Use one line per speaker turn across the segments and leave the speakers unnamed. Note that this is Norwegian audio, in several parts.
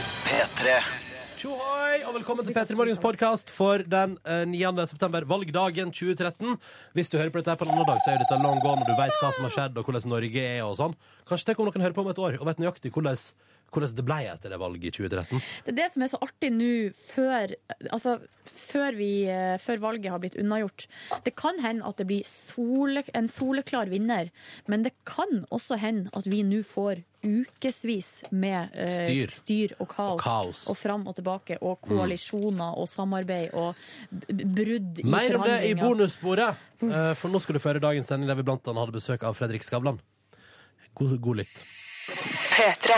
P3.
Tjohoi, og velkommen til P3 Morgens podkast for den eh, 9. september, valgdagen 2013. Hvis du hører på dette her på en annen dag, så er jo dette long gone, og du veit hva som har skjedd, og hvordan Norge er og sånn. Kanskje tenk om noen hører på om et år og vet nøyaktig hvordan, hvordan det ble etter det valget i 2013.
Det er det som er så artig nå, før, altså, før, vi, eh, før valget har blitt unnagjort. Det kan hende at det blir sole, en soleklar vinner, men det kan også hende at vi nå får ukevis med eh,
Styr.
styr og kaos.
Og kaos. Mm.
Og fram og tilbake, og koalisjoner og samarbeid og b- brudd i
Mer om det i
forhandlinger.
bonussporet, eh, for nå skal du føre dagens sending der vi blant annet hadde besøk av Fredrik Skavlan. God, god lytt.
P3.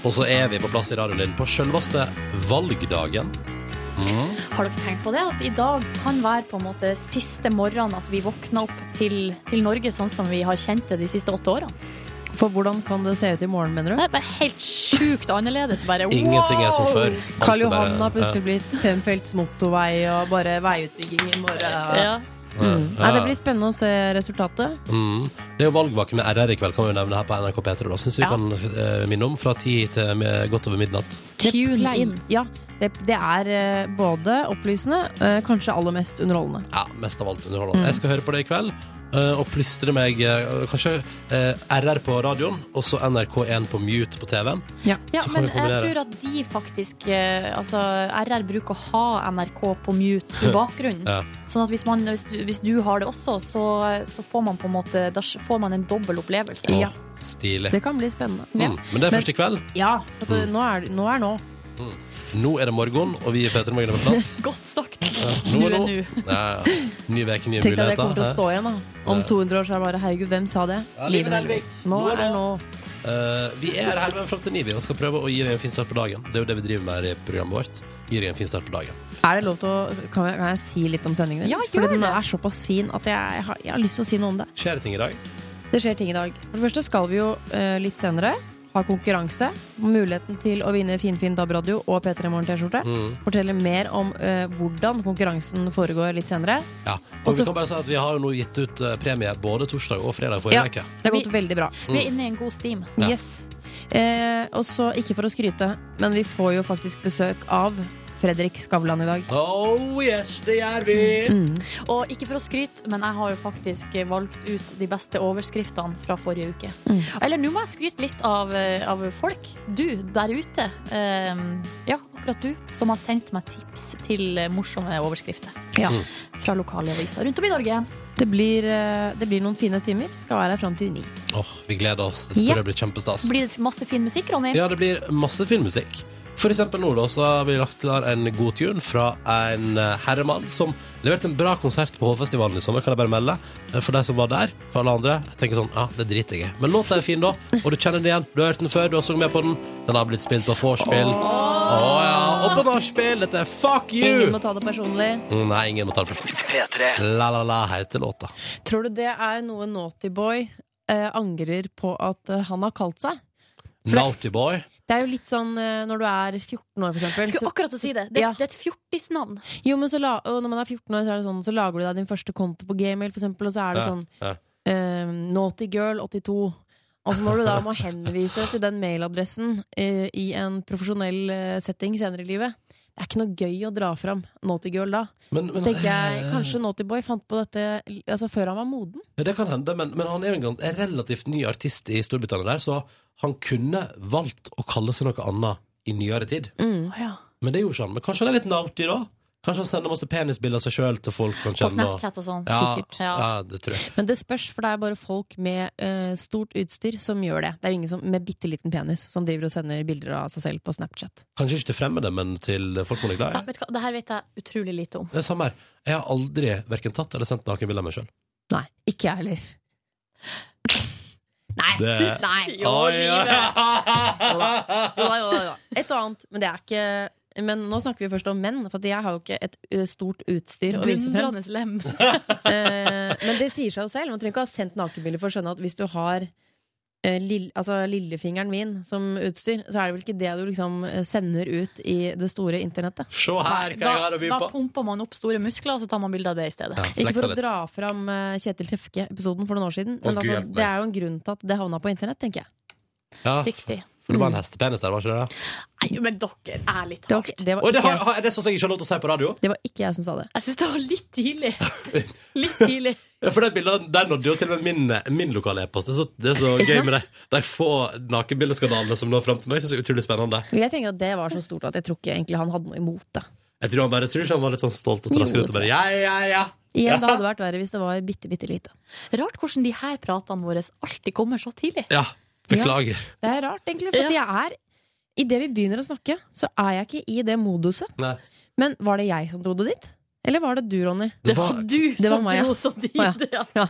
Og så er vi på plass i radioen din på sjølveste valgdagen.
Har dere tenkt på det? At i dag kan være på en måte siste morgenen at vi våkner opp til, til Norge sånn som vi har kjent det de siste åtte årene.
For hvordan kan det se ut i morgen, mener
Det
du?
er bare helt sjukt annerledes. Bare,
Ingenting er som
wow!
før. Alt
Karl
er bare-
Johan har plutselig blitt femfelts motorvei og bare veiutbygging i morgen.
Ja.
Mm. Nei, det blir spennende å se resultatet.
Mm. Det er jo valgvake med RR i kveld, kan vi jo nevne her på NRK P3. da. Syns vi
Ja.
kan eh, minne om fra ti til med godt over midnatt.
Tune in.
Ja, det, det er eh, både opplysende, eh, kanskje aller mest underholdende.
Ja, mest av alt
Mm.
underholdende. Jeg skal høre på det i kveld. eh, og plystre meg eh, kanskje eh, RR på radioen, og så NRK1 på mute på TV-en.
Ja,
Så kan
men
vi
jeg
kombinere.
tror at de faktisk eh, Altså, RR bruker å ha NRK på mute i bakgrunnen.
Ja.
Sånn at hvis, man, hvis, du, hvis du har det også, så, så får man på en måte Da får man en dobbel opplevelse.
Å,
Ja.
Stilig.
Det kan bli spennende.
Mm. Men det er først i kveld.
Ja, for at, nå, er, nå er nå.
Nå er det morgen, og vi i P3 Morgen er på plass.
Godt sagt.
Nå
Nå er nå.
Ja, ja. Ny uke, nye
Tenk deg at jeg kommer til å
muligheter.
stå igjen da. om 200 år. så er det bare, Herregud, hvem sa det?
Ja, Liven Elvik.
Nå
Nå er
er nå.
Eh, vi er her med fram til ni, vi, og skal prøve å gi deg en fin start på dagen. Det er jo det vi driver med her i programmet vårt. Gir deg en fin start på dagen.
Er det lov til å, kan, jeg, kan jeg si litt om sendingen?
Ja, gjør
Fordi den
det.
er såpass fin at jeg, jeg, har, jeg har lyst til å si noe om det.
Skjer det ting i dag?
Det skjer ting i dag. For det første skal vi jo eh, litt senere ha konkurranse. Muligheten til å vinne finfin DAB-radio og P3 Morgen-T-skjorte.
Mm.
Fortelle mer om eh, hvordan konkurransen foregår litt senere.
Ja. Og
Også-
vi kan bare si at vi har jo nå gitt ut eh, premie både torsdag og fredag forrige
Ja,
uke.
det har gått veldig bra.
Vi er inne i en god steam.
Ja.
Yes. Eh, og så, ikke for å skryte, men vi får jo faktisk besøk av Fredrik Skavlan i dag.
Oh yes, det gjør vi!
Og ikke for å skryte, men jeg har jo faktisk valgt ut de beste overskriftene fra forrige uke. Eller nå må jeg skryte litt av, eh, av folk. Du der ute. eh, ja, akkurat du. Som har sendt meg tips til eh, morsomme overskrifter.
Ja.
Mm.
Fra lokale aviser rundt om i Norge.
Det blir, eh, det blir noen fine timer. Skal være her fram til ni.
Åh, vi gleder oss. Jeg
Ja.
tror det blir kjempestas.
Blir det masse fin musikk, Ronny?
Ja, det blir masse filmmusikk. For eksempel nå da, så har vi lagt klar en god tune fra en eh, herremann som leverte en bra konsert på Hovfestivalen i sommer, kan jeg bare melde. Eh, For deg som var der, for alle andre, jeg tenker sånn, ja, det driter jeg i. Men låta er fin da, og du kjenner den igjen. Du har hørt den før, du har sunget med på den. Den har blitt spilt på vorspiel. Åh, ja, og på nachspiel. Dette er Fuck
Ingen
You!
må ta det personlig.
Mm, Nei, ingen må ta den først.
P3.
La La La heter låta.
Tror du det er noe Naughty Boy eh, angrer på at eh, han har kalt seg?
Naughty Boy.
Det er jo litt sånn eh, når du er 14 år, for eksempel.
Skulle
Så,
akkurat å si det. Det,
Ja.
det er et fjortisnavn.
jo, men så la, og når man er 14 år, så, er det sånn, så lager du deg din første konto på Gmail, for eksempel, og så er det
Ja,
sånn
ja.
eh, Naughty Girl 82. Og så når du da må henvise til den mailadressen eh, i en profesjonell eh, setting senere i livet det er ikke noe gøy å dra fram Naughty Girl da.
Men,
Så
men,
tenker jeg, Kanskje Naughty Boy fant på dette altså, før han var moden?
Ja, det kan hende, men, men han er jo en gan- en relativt ny artist i Storbritannia der, så han kunne valgt å kalle seg noe annet i nyere tid.
Mm.
Men det gjorde ikke han. Men kanskje han er litt naughty, da? Kanskje han sender masse penisbilder av seg sjøl til folk han
På
kjenner? og-
Snapchat og sånn.
ja,
Sikkert.
Ja.
Ja.
det tror jeg.
Men det spørs, for det er bare folk med eh, stort utstyr som gjør det. Det er jo ingen som, med bitte liten penis som driver og sender bilder av seg selv på Snapchat.
Kanskje ikke til fremmede, men til folk man er glad
Ja,
i.
vet du hva? Det her vet jeg utrolig lite om.
Det er samme her. Jeg har aldri verken tatt eller sendt nakenbilde av meg sjøl.
Nei, ikke jeg heller. Nei!
Det-
Nei! Jo da, jo da, jo da. Et og annet, men det er ikke Men nå snakker vi først om menn, for at jeg har jo ikke et ø, stort utstyr å vise frem.
Dundrende lem.
Eh, men det sier seg jo selv. Man trenger ikke ha sendt nakenbilder for å skjønne at hvis du har eh, lill- altså lillefingeren min som utstyr, så er det vel ikke det du liksom eh, sender ut i det store internettet.
Se her hva
da,
jeg har å by
da
på!
pumper man opp store muskler, og så tar man bilde av det i stedet.
Ja,
Ikke
fleksa
for å
litt.
dra fram eh, Kjetil Trefke-episoden for noen år siden,
Å, Gud
men altså,
hjelpe meg.
det er jo en grunn til at det havna på internett, tenker jeg.
Ja,
Riktig.
for det var en hestepenis der, var ikke det?
Nei, men dere er litt
Det
hardt.
var, det var,
Og det,
ikke,
har,
jeg,
har- er det sånn som jeg ikke har lov til å si på radio?
det var ikke jeg som sa det.
Jeg syns det var litt tidlig. Litt tidlig.
Ja, for det bildet, Der nådde jo til og med min, eh, min lokale e-post. Det er så, det er så
Ikke
gøy
sant?
med de, de få nakenbildeskandalene som når fram til meg. Jeg synes det er utrolig spennende
Og Jeg tenker at det var så stort at jeg tror ikke egentlig han hadde noe imot det.
Jeg tror han bare jeg tror ikke han var litt sånn stolt og
Jo,
trasker ut
det
og bare Ja, ja, ja!
Igjen, det hadde vært verre hvis det var bitte, bitte lite.
Rart hvordan de her pratene våre alltid kommer så tidlig.
ja beklager.
Det er rart, egentlig, for at jeg er Idet vi begynner å snakke, så er jeg ikke i det moduset.
Nei,
Men var det jeg som dro det dit? Eller var det du, Ronny?
Det var du
var
som
meg, ja.
dro så dit.
Å,
ja.
Ja.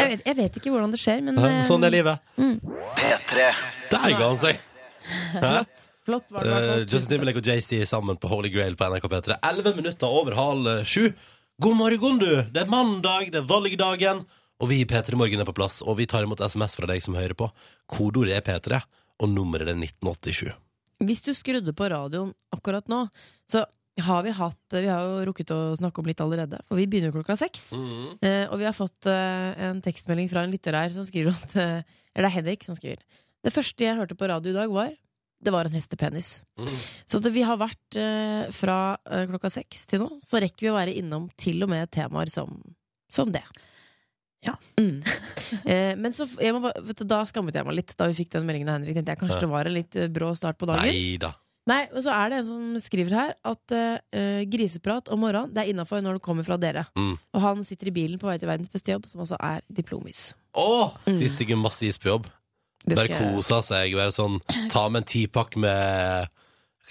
Jeg vet, jeg vet ikke hvordan det skjer, men
Hæ?
eh,
Sånn er livet.
P3
Der ga han seg! Hæ?
flott var det. i hvert
Eh,
fall.
Justin Timberlake og JC sammen på Holy Grail på NRK P3. Elleve minutter over halv eh, sju. God morgen, du! Det er mandag, det er valgdagen, og vi i P3 Morgen er på plass. Og vi tar imot SMS fra deg som hører på. Kodeordet er P3, og nummeret er 1987.
Hvis du skrudde på radioen akkurat nå, så har vi hatt Vi har jo rukket å snakke om litt allerede, for vi begynner jo klokka seks.
Mhm.
Eh, og vi har fått eh, en tekstmelding fra en lytter her som skriver at eh, Eller det er Henrik som skriver. Det første jeg hørte på radio i dag, var Det var en hestepenis.
Mm.
Så at vi har vært eh, fra eh, klokka seks til nå, så rekker vi å være innom til og med temaer som, som det.
Ja.
Mm. Eh, men så, f- jeg må bare, vet du, da skammet jeg meg litt da vi fikk den meldingen av Henrik. Tenkte
Ja.
jeg kanskje det var en litt eh, brå start på dagen.
Nei da.
Nei, og så er det en som skriver her at eh, griseprat om morgenen det er innafor når det kommer fra dere.
Mm.
Og han sitter i bilen på vei til verdens beste jobb, som altså er diplomis.
Å!
Mm.
De stikker masse is på jobb.
Det
Bare
skal jeg-
koser seg. Bare sånn, ta med en tipakk med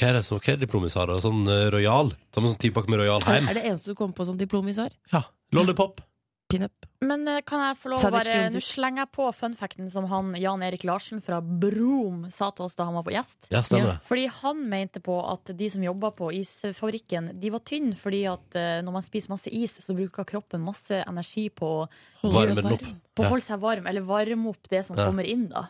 Hva er det som hva er det diplomis har? da? Sånn uh, Royal? Ta med en sånn tipakk med Royal hjem?
Er det eneste du kommer på som diplomis har?
Ja. Lollipop.
Pinup.
Men eh, kan jeg få lov å
Savage
bare
Grunsis.
Nå slenger jeg på funfacten som han Jan Erik Larsen fra Brom sa til oss da han var på gjest.
Ja,
Ja.
stemmer det.
Fordi han mente på at de som jobba på isfabrikken, de var tynne fordi at eh, når man spiser masse is, så bruker kroppen masse energi på å
Varme den opp.
på å
Ja.
holde seg varm, eller varme opp det som
Ja.
kommer inn da.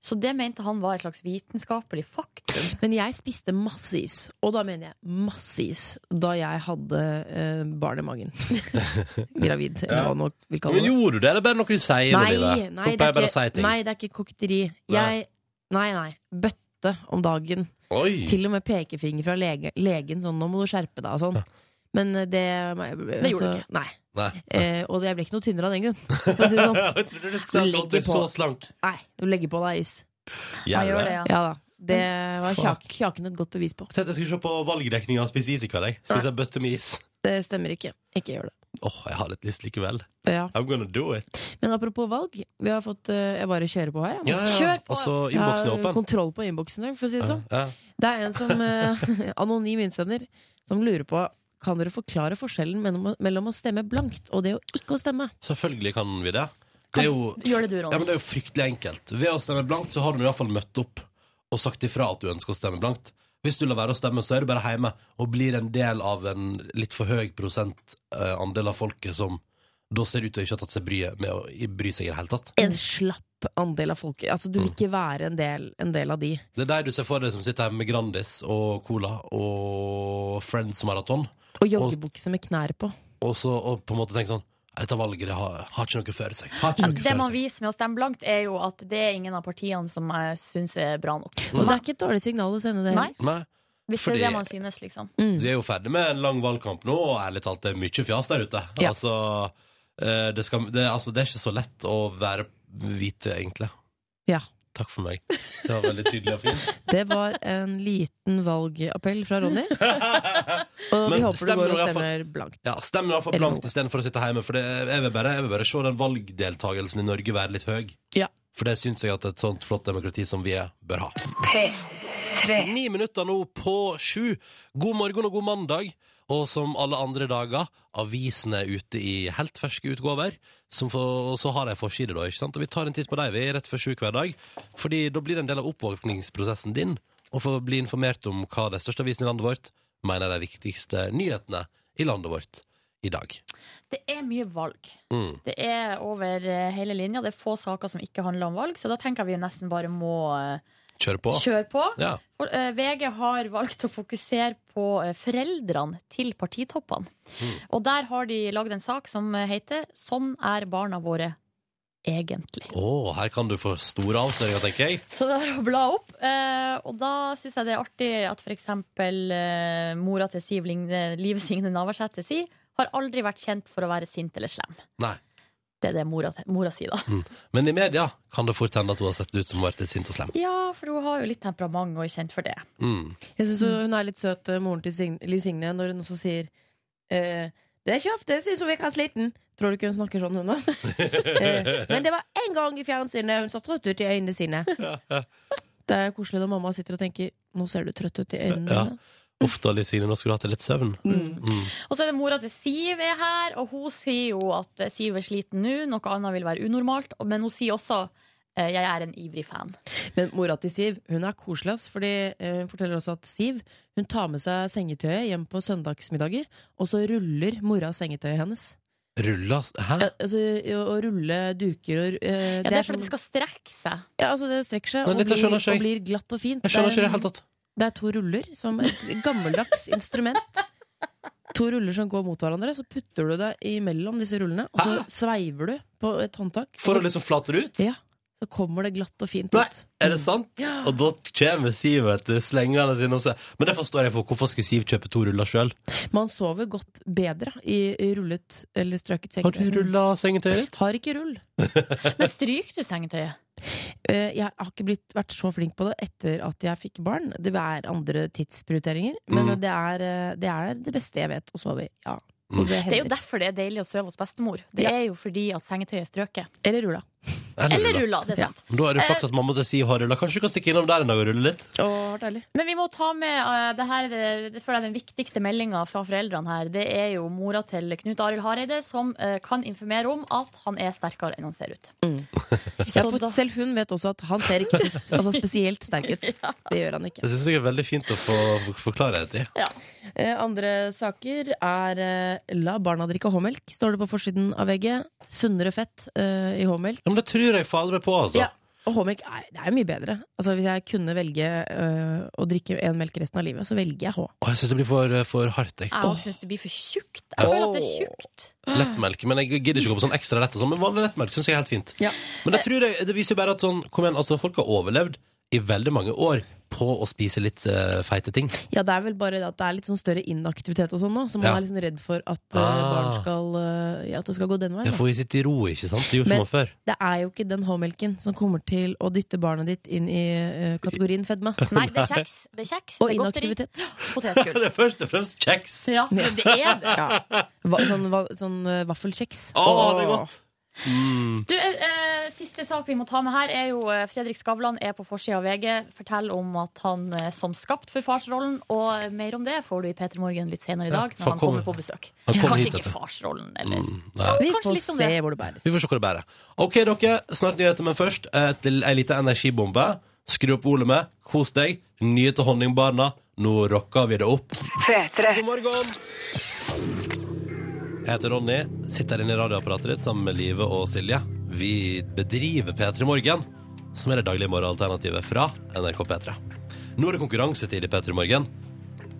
Så det mente han var et slags vitenskapelig faktum.
Men jeg spiste masse is, og da mener jeg masse is, da jeg hadde eh, barn i magen. Gravid, eller hva man vil kalle
Men
det.
gjorde du det, eller bare noe du sier?
Nei,
Livet?
nei,
Folk
det
pleier
er
bare å si
ikke,
ting.
nei, det er ikke koketteri. Jeg Nei, nei. Bøtte om dagen.
Oi!
Til og med pekefinger fra lege, legen sånn 'nå må du skjerpe deg' og sånn. Men eh, det
Det gjorde du
ikke. Nei.
Nei.
Eh, og jeg ble ikke noe tynnere av den grunn. For å si det sånn.
Jeg trodde du skulle si at du
Legger
er så
på.
slank.
Nei, du legger på deg is.
Han
Gjør
gjør
du
det,
det?
ja.
Ja da. Det var
Fuck.
kjak, kjaken et godt bevis på.
Jeg tenkte jeg skulle se på valgdekninga og spise is i kveld. jeg. Spise en bøtte med is.
Det stemmer ikke. Ikke gjør det.
Åh, jeg har litt lyst likevel.
Ja.
I'm gonna do it.
Men apropos valg, vi har fått eh, Jeg bare kjører på her. jeg.
Ja, ja.
Kjør på.
Altså,
Jeg har
innboksen er åpen.
Kontroll på innboksen i dag, for å si det sånn.
Ja.
Det er en som, eh, anonym innsender som lurer på kan dere forklare forskjellen mellom, mellom å stemme blankt og det å ikke å stemme.
Selvfølgelig kan vi det. Det er jo,
gjør det du, Ronny.
Ja, men det er jo fryktelig enkelt. Ved å stemme blankt så har du i hvert fall møtt opp og sagt ifra at du ønsker å stemme blankt. Hvis du lar være å stemme, så er du bare hjemme og blir en del av en litt for høy prosentandel av folket som da ser ut til å ikke ha tatt seg bryet med å i- bry seg i det hele tatt.
En slapp andel av folket. Altså, du
Mm.
vil ikke være en del, en del av de.
Det er de du ser for deg som sitter hjemme med Grandis og Cola og Friends Marathon,
Og joggebukse med knær på.
og så og på en måte tenker sånn «Nei, dette valget det har, har ikke noe føre seg. Har ikke noe
Det
føre
man
seg.
viser med å stemme blankt, er jo at det er ingen av partiene som jeg syns er bra nok.
Og det er ikke et dårlig signal å sende det.
Nei,
Nei.
hvis
Mm. Fordi-
det er det man synes, liksom.
Vi er jo ferdig med en lang valgkamp nå, og ærlig talt, det er mye fjas der ute.
Ja.
Altså, eh, det, skal, det, altså, det er ikke så lett å være hvite, egentlig.
Ja.
Takk for meg. Det var veldig tydelig og fint.
Det var en liten valgappell fra Ronny. Og vi
Men
håper du
stemmer
går og
i hvert fall.
stemmer blankt.
Ja, Stem i hvert fall blankt istedenfor å sitte hjemme, for det, jeg, vil bare, jeg vil bare se den valgdeltagelsen i Norge være litt høy.
Ja.
For det syns jeg at et sånt flott demokrati som vi er, bør ha. Ni minutter nå på sju. God morgen og god mandag. Og som alle andre dager, avisene er ute i helt ferske utgaver. Som for, og så har de forside, da. ikke sant? Og vi tar en titt på dem vi, rett før sju hver dag. Fordi da blir det en del av oppvåkningsprosessen din å få bli informert om hva de største avisene i landet vårt mener er de viktigste nyhetene i landet vårt. i dag.
Det er mye valg.
Mm.
Det er over eh, hele linja. Det er få saker som ikke handler om valg, så da tenker jeg vi nesten bare må eh,
Kjør på.
kjøre på.
Ja.
For, eh, VG har valgt å fokusere på eh, foreldrene til partitoppene. Og der har de lagd en sak som eh, heter 'Sånn er barna våre egentlig'.
Å, her kan du få store avsløringer, tenker jeg.
Så det er å bla opp. eh, Og da syns jeg det er artig at f.eks. mora til Siv Ligne, Liv Signe Navarsete sier 'har aldri vært kjent for å være sint eller slem'.
Nei.
Det er det mora, mora sier, da.
Men i media kan det fort hende at hun har sett ut som hun har vært litt sint og slem.
Ja, for hun har jo litt temperament og er kjent for det.
Mm.
Jeg syns hun er litt søt, eh, moren til Sign- Liv Signe, når hun også sier eh, Det er ikke ofte jeg syns hun virker sliten. Tror du ikke hun snakker sånn, hun, da? eh, men det var én gang i fjernsynet hun så trøtt ut i øynene sine. Det er koselig når mamma sitter og tenker Nå ser du trøtt ut i øynene
Ja.
dine.
Ofte, Liv Signe, nå skulle du hatt deg litt søvn. Mm.
Og så er det mora til Siv er her, og hun sier jo at eh, Siv er sliten nå, noe annet vil være unormalt, og- men hun sier også eh, jeg er en ivrig fan.
Men mora til Siv hun er koselig. ass, Fordi eh, Hun forteller også at Siv hun tar med seg sengetøyet hjem på søndagsmiddager, og så ruller mora sengetøyet hennes.
Rulla Hæ?
Ja, altså, å, å rulle duker og eh,
Ja, det er
sånn-
fordi det skal strekke seg.
ja, altså, det strekker seg
Men
og
dette
blir,
skjønner ikke jeg.
og blir glatt og fint.
Jeg skjønner ikke
det
i
er,
det hele tatt.
det er to ruller som et gammeldags instrument. To ruller som går mot hverandre, så putter du deg imellom disse rullene, og så
Hæ?
sveiver du på et håndtak. og
Ah. For å
så,
liksom flate det ut?
ja, så kommer det glatt og fint
Nei,
ut.
er det sant? Og da kommer Siv, vet du, slengende sine om seg. Men det forstår jeg, for hvorfor skulle Siv kjøpe to ruller sjøl?
Man sover godt bedre i i rullet eller strøket
Har du
sengetøy.
rulla sengetøyet ditt?
Har ikke rull.
Men stryker du sengetøyet?
Eh, Jeg har ikke blitt, vært så flink på det etter at jeg fikk barn. Det er andre tidsprioriteringer, men
Mm.
det, er, eh, det er det beste jeg vet å sove i. Ja. Så
Mm.
det
Det er jo
hender.
derfor det er deilig å sove hos bestemor. Det
Ja.
er jo fordi at sengetøyet er strøket.
Eller Eh, rulla.
Eller rulla, det er sant.
Men Da er det jo flaks at mamma til Siv har rulla. Kanskje du kan stikke innom der en dag og rulle litt?
Å, deilig.
Men vi må ta med eh, det her, er det, det føler jeg er den viktigste meldinga fra foreldrene her. Det er jo mora til Knut Arild Hareide som eh, kan informere om at han er sterkere enn han ser ut.
Ja,
Så
for
da,
selv hun vet også at han ser ikke så sp- altså spesielt sterk ut. Det gjør han ikke.
Det syns jeg er veldig fint å få få- få klarhet i.
ja.
Eh, Andre saker er eh, La barna drikke håmelk, står det på forsiden av VG. Sunnere fett eh, i håmelk.
Ja, Men det tror jeg fader meg på, altså.
Ja. Og håmelk er, det er mye bedre. Altså, hvis jeg kunne velge øh, å drikke én melk resten av livet, så velger jeg H.
Og jeg syns det blir for, eh, for hardt, jeg.
Jeg syns det blir for tjukt. Jeg føler at det er tjukt.
Lettmelk. Men jeg gidder ikke gå på sånn ekstra lett og sånn. Men vanlig lettmelk syns jeg er helt fint. Men jeg tror det, det viser jo bare at sånn, kom igjen, altså folk har overlevd i veldig mange år på å spise litt eh, feite ting.
Ja, det er vel bare det at det er litt sånn større inaktivitet og sånn nå, så man
Ja.
er liksom redd for at øh,
Ah.
barn skal øh, ja, at det skal gå den
Ja,
veien. da.
for vi sitter i ro, ikke sant? Det gjorde
Men-
man før.
Det er jo ikke den H-melken som kommer til å dytte barnet ditt inn i øh, kategorien fedme.
Nei, det er kjeks. Det er kjeks.
Og
det er godteri,
inaktivitet.
Potetgull.
Det er først og fremst kjeks.
Ja, men det er det.
Ja. Va sånn va sånn øh, vaffelkjeks.
Å, det er godt! Mm.
Du, eh, eh, siste sak vi må ta med her, er jo eh, Fredrik Skavlan er på forsida av VG. Forteller om at han eh, som skapt for farsrollen, og eh, mer om det får du i P3 Morgen litt senere i
Ja,
dag,
for
når han
kommer-
kommer på besøk.
han kommer
Kanskje
hit
ikke
etter. Mm.
farsrollen, eller
Nei.
Vi
Kanskje
får
litt om
se
det.
hvor det bærer.
Vi får se hvor det bærer. Ok, dere. Snart nyheter, men først et, lille- ei lita energibombe. Skru opp olet med. Kos deg. Nye til Honningbarna. Nå rocker vi det opp. God morgen. Jeg heter Ronny. Sitter her inne i radioapparatet ditt sammen med Live og Silje. Vi bedriver P3 Morgen, som er det daglige morgenalternativet fra NRK P3. Nå er det konkurransetid i P3 Morgen.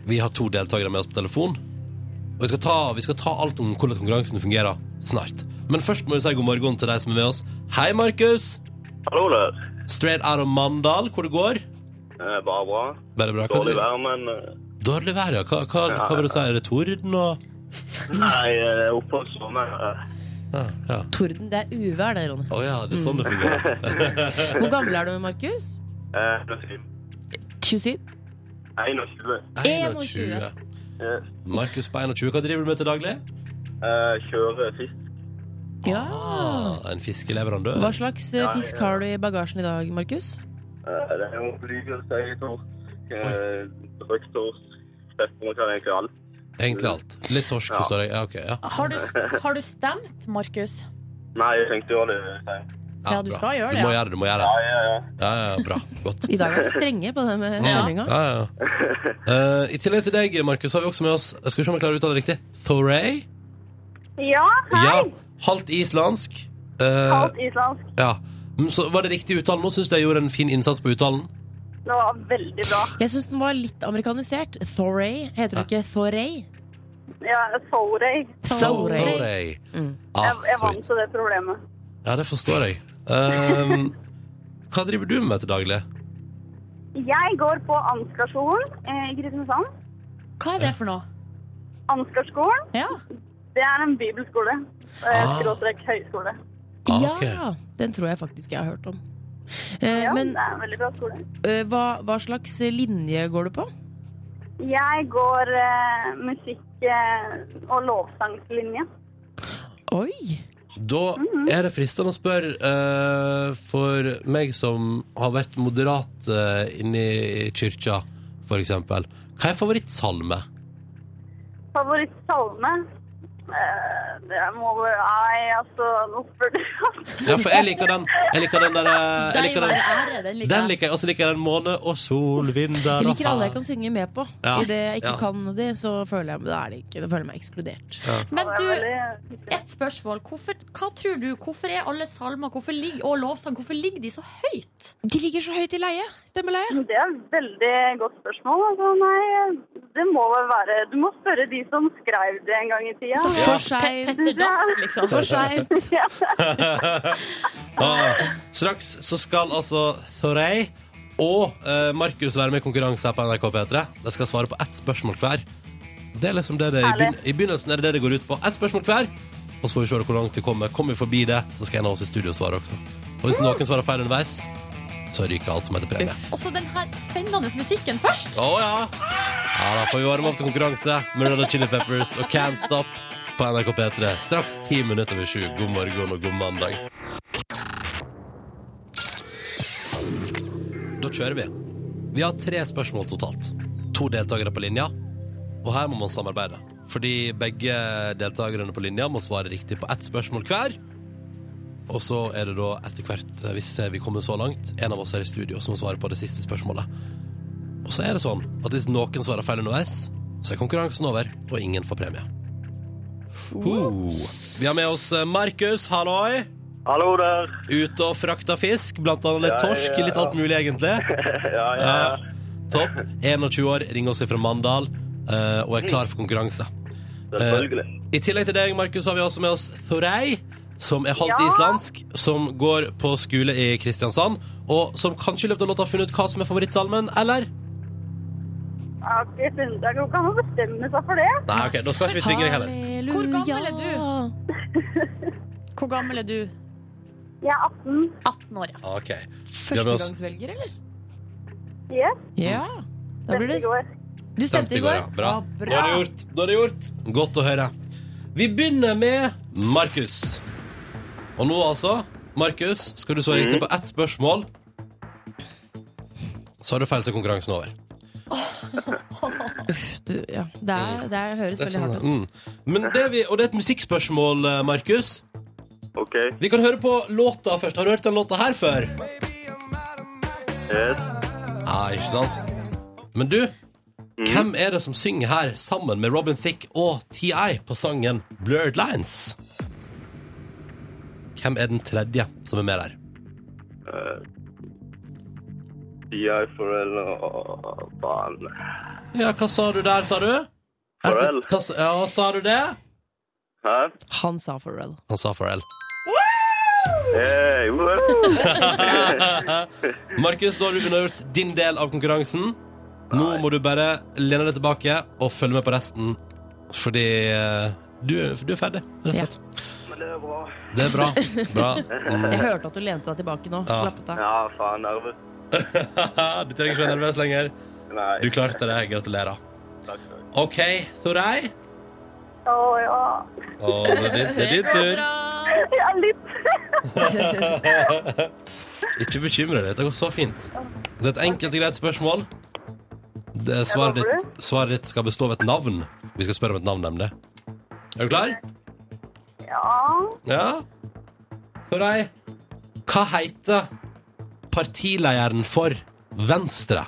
Vi har to deltakere med oss på telefon. Og vi skal, ta, vi skal ta alt om hvordan konkurransen fungerer snart. Men først må vi si god morgen til deg som er med oss. Hei, Markus!
Hallo der.
Straight out of Mandal, hvor det går?
Eh, Bare bra.
Bare bra. Hva,
Dårlig vær, men eh,
Dårlig vær, ja. Hva, hva, hva vil du si? Er det torden og
Nei, jeg er oppe og sover.
Ja. ja.
Torden, det er uvær det, Ronny.
Å ja, det er sånn det fungerer.
Hvor gammel er du, Markus?
Eh, det er fint.
27?
21.
21.
Yes.
Markus på 21, hva driver du med til daglig?
Eh, Kjører fisk.
Ja.
Ah, en fiskeleverandør.
Hva slags eh,
Ja,
fisk
ja.
har du i bagasjen i dag, Markus?
Eh, Det er jo flygelseiertorsk, røyktorsk Stepper man kan egentlig alt.
Egentlig alt. Litt torsk,
Ja.
forstår jeg. Ja, ok, ja.
Har du, har du stemt, Markus?
Nei, jeg tenkte jo det. sier.
Ja, du
bra.
skal gjøre
Du
det,
må
ja.
gjøre det. du må gjøre
eh, Ja,
det.
ja, ja.
Ja, ja, ja, bra. Godt.
I dag er vi strenge på det med
Ja.
stemminga.
Ja, ja, ja. Eh, I tillegg til deg, Markus, har vi også med oss Jeg skal vi se om jeg klarer å uttale det riktig. Thoray?
Ja, hei.
Ja, halvt islandsk. Eh,
Halvt islandsk.
ja. Mm, Så var det riktig uttale nå? Syns du jeg gjorde en fin innsats på uttalen?
Det var veldig bra.
Jeg syns den var litt amerikanisert. Thoray. Heter det ikke Thoray?
Ja, Sorry.
Thoray.
Sorry.
Mm.
Ah,
Jeg,
sweet.
jeg vant til det problemet.
Ja, det forstår jeg. Ehm, hva driver du med til daglig?
Jeg går på Ansgarskolen eh, i Kristiansand.
Hva er det for noe?
Ansgarskolen,
Ja.
det er en bibelskole. Eh,
Ah.
Skråstrek høyskole.
Ah, ok.
Ja! Den tror jeg faktisk jeg har hørt om. Eh,
Ja,
men
det er en veldig bra skole.
eh, hva, hva slags linje går du på?
Jeg går eh, musikk- eh, og lovsangslinje.
Oi!
Da
Mhm.
er det fristende å spørre, eh, for meg som har vært moderat uh, inni kyrkja, for eksempel, hva er favorittsalme?
Favorittsalme? Eh, det må vel Nei, altså, nå spør du
Ja, for jeg liker den, jeg liker den der eh, jeg
Deg
liker
være
den.
ære, den liker
Den
jeg.
liker jeg, og så liker jeg den måne og sol, vind der
Jeg
og
liker alle jeg kan synge med på.
Ja.
I det jeg ikke
Ja.
kan det, så føler jeg, da er det ikke, da føler jeg meg ekskludert.
Men
Det er
du,
veldig hyggelig.
ett spørsmål. Hvorfor, hva tror du, hvorfor er alle salmer hvorfor ligger, og lovsang hvorfor ligger de så høyt?
De ligger så høyt i leie. Stemmeleie.
Det er et veldig godt spørsmål. Altså, nei, det må vel være Du må spørre de som skrev det en gang i tida.
Så for seint.
Petter Dass, liksom.
For seint.
Ah, straks så skal altså Thorey og eh, Markus være med i konkurranse her på NRK P3. De skal svare på ett spørsmål hver. Det er liksom det det i, begyn
Herlig.
I begynnelsen er det det det går ut på. Ett spørsmål hver. Og så får vi se hvor langt vi kommer. Kommer vi forbi det, så skal en av oss i studio svare også. Og hvis noen svarer feil underveis, så ryker alt som heter premie.
Og så den her spennende musikken først.
Å ja. ja! Da får vi varme opp til konkurranse med Red Hot Chili Peppers og Can't Stop på NRK P3. Straks ti minutter over sju. God morgen og god mandag. Da kjører vi. Vi har tre spørsmål totalt. To deltakere på linja, og her må man samarbeide. Fordi begge deltakerne på linja må svare riktig på ett spørsmål hver. Og så er det da etter hvert, eh, hvis vi kommer så langt, en av oss her i studio som må svare på det siste spørsmålet. Og så er det sånn at hvis noen svarer feil underveis, så er konkurransen over, og ingen får premie. Ho. Vi har med oss eh, Markus, halloi.
Hallo der.
Ute og frakta fisk, blant annet litt
Ja,
torsk,
ja,
litt alt mulig egentlig.
ja, ja,
Ja,
ja.
topp. 21 år, ring oss fra Mandal, eh, og er klar for konkurranse.
Selvfølgelig.
I tillegg til deg, Markus, har vi også med oss Thorei, som er halvt
Ja.
islandsk, som går på skole i Kristiansand, og som kanskje i løpet av låta har funnet ut hva som er favorittsalmen, eller?
Ja, Jeg synes jeg kan jo bestemme seg for det.
Nei, ok, da skal ikke vi tvinge deg heller.
Hvor gammel er du? Hvor gammel er du?
Jeg er 18.
18 år, ja.
Ah, Ok. har med oss-
Førstegangsvelger, eller?
Yes,
Ja. Da blir
stemte
det
i går.
Du stemte i går?
ja. Bra.
Ah,
Da er det gjort. Da er det gjort. Godt å høre. Vi begynner med Markus. Og nå altså, Markus, skal du svare riktig på ett spørsmål. Så har du feil til konkurransen over.
Du, ja. Det, er, det er, høres veldig hardt ut.
Mm. Men det vi, og det er et musikkspørsmål, eh, Markus.
OK.
Vi kan høre på låta først. Har du hørt den låta her før?
Yes.
Ja, ikke sant? Men du, hvem er det som synger her sammen med Robin Thicke og T.I. på sangen Blurred Lines? Hvem er den tredje som er med der?
Eh, Sier jeg Forell og faen.
Ja, hva sa du der, sa du?
Pharrell.
Hva, sa- ja, sa du det?
Hæ?
Han sa Pharrell.
Han sa Pharrell.
Hey, woo!
Markus, nå har du unnagjort din del av konkurransen. Nå må du bare lene deg tilbake og følge med på resten, fordi eh, du, du er ferdig, rett og
Ja.
slett.
Men det er bra.
Det er bra. bra. Mm.
Jeg hørte at du lente deg tilbake nå.
Ja.
Slappet av.
Ja, nou faen, nerver.
du trenger ikke være nervøs lenger.
Nei.
Du klarte det. Gratulerer.
Takk, takk.
OK, Thorei.
Å ja.
Å, det, er din, det er din tur.
Jeg er litt
Ikke bekymre deg. Det går så fint. Det er et enkelt og greit spørsmål. Det svaret,
lover
ditt, svaret ditt skal bestå av et navn. Vi skal spørre om et navn, nemlig. Er du klar?
Ja.
Ja? Thorei, hva heter partilederen for Venstre?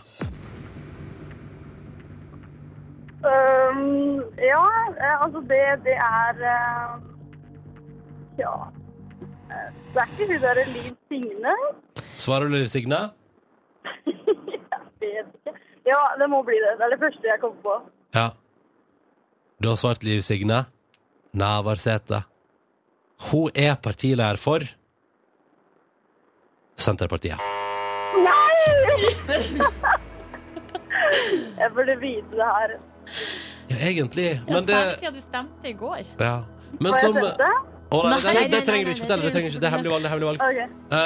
Um, ja, eh, altså det, det er eh, Ja. Eh, Det er ikke hun derre Liv Signe?
Svarer du, Liv Signe?
Jeg vet ikke. Ja, det må bli det. Det er det første jeg kom på.
Ja. Du har svart Liv Signe Navarsete. Hun er partileder for Senterpartiet.
Nei! Jeg burde vite det her.
Ja, egentlig. Men
Men
det
Særlig siden du stemte i går.
ja. Men
Får jeg
som eh,
teste?
Å, nei,
Nei,
det, det, det
nei,
trenger du
nei,
ikke
nei,
fortelle. Det
det
trenger du ikke. Det er hemmelig valg. Det er hemmelig valg.
Ok. Ja,
Um,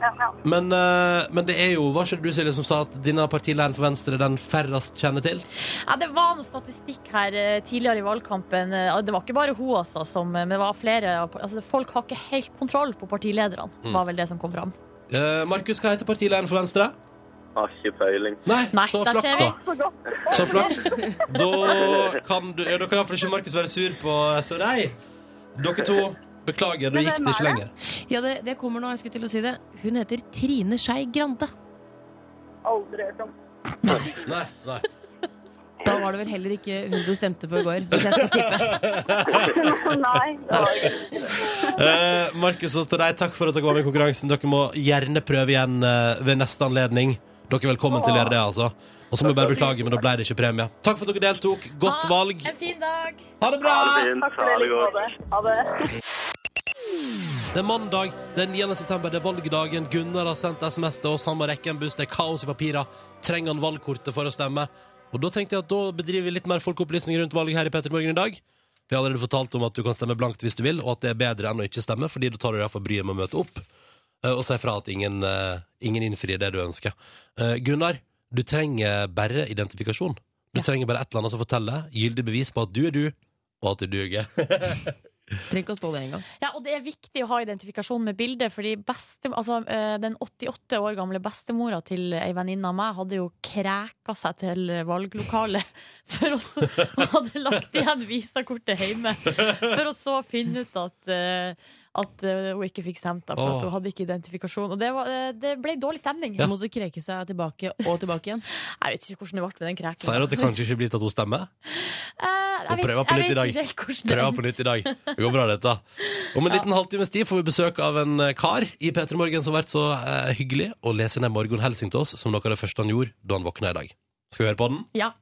ja, ja.
men, eh, men det er jo Var ikke det du Silje, som sa at denne partilederen for Venstre den færrest kjenner til?
Ja, det var noe statistikk her eh, tidligere i valgkampen. Eh, Det var ikke bare hun, altså, som, men det var flere. av- Altså, folk har ikke helt kontroll på partilederne,
Mm.
var vel det som kom fram.
Eh, Markus, hva heter partilederen for Venstre?
Har ikke peiling.
Nei,
Nei,
så
der
flaks,
ser vi.
da.
Så godt.
Så flaks. Da kan du ja, Da kan iallfall ikke Markus være sur på for deg. Dere to, beklager, da
Men
gikk
hvem
det ikke
er
lenger.
Ja, det, det kommer nå, jeg skulle til å si det. Hun heter Trine Skei Grande.
Aldri hørt om.
Nei, nei.
Da var det vel heller ikke hun du stemte på i går. Hvis jeg skal tippe.
Nei. det var ikke.
Eh, Markus og til deg, takk for at dere var med i konkurransen. Dere må gjerne prøve igjen eh, ved neste anledning. Dere er velkommen til å gjøre det, altså. Og så må jeg bare beklage, men da ble det ikke premie. Takk for at dere deltok. Godt
Ha
valg.
En fin dag!
Ha det bra!
Ha det fint.
Takk for det. i
Ha det
like
godt.
måte. Ha det.
Det er mandag den 9. september. Det er valgdagen. Gunnar har sendt SMS til oss. Han må rekke en buss. Det er kaos i papirer. Trenger han valgkortet for å stemme? Og da tenkte jeg at da bedriver vi litt mer folkeopplysning rundt valget her i Petter Morgen i dag. Vi har allerede fortalt om at du kan stemme blankt hvis du vil, og at det er bedre enn å ikke stemme, fordi da tar du deg for bryet med å møte opp eh, og si fra at ingen, eh, ingen innfrir det du ønsker. Eh, Gunnar, du trenger bare identifikasjon. Du trenger bare et eller annet som forteller gyldig bevis på at du er du, og at du duger.
Trenger ikke å stå det en gang.
Ja, og det er viktig å ha identifikasjon med bildet, fordi beste, altså, eh, den 88 år gamle bestemora til ei venninne av meg hadde jo kræka seg til valglokalet for å så, og hadde lagt igjen visakortet hjemme, for å så finne ut at eh, at eh, hun ikke fikk stemt, da, for
Åh.
at hun hadde ikke identifikasjon. Og det, var, eh, det ble dårlig stemning.
Hun måtte kreke seg tilbake og tilbake igjen.
Jeg vet ikke hvordan det ble med den kræken.
Sier du at det kanskje ikke blir til at hun stemmer?
Eh,
Og
jeg vet,
prøver på nytt i
jeg
dag.
vet ikke helt hvordan det
Prøv på nytt i dag. Det går bra, dette. Om en liten halvtimes tid får vi besøk av en eh, kar i P3 Morgen som har vært så eh, hyggelig å lese ned morgenhelsing til oss som noe av det første han gjorde da han våkna i dag. Skal vi høre på den?
Ja.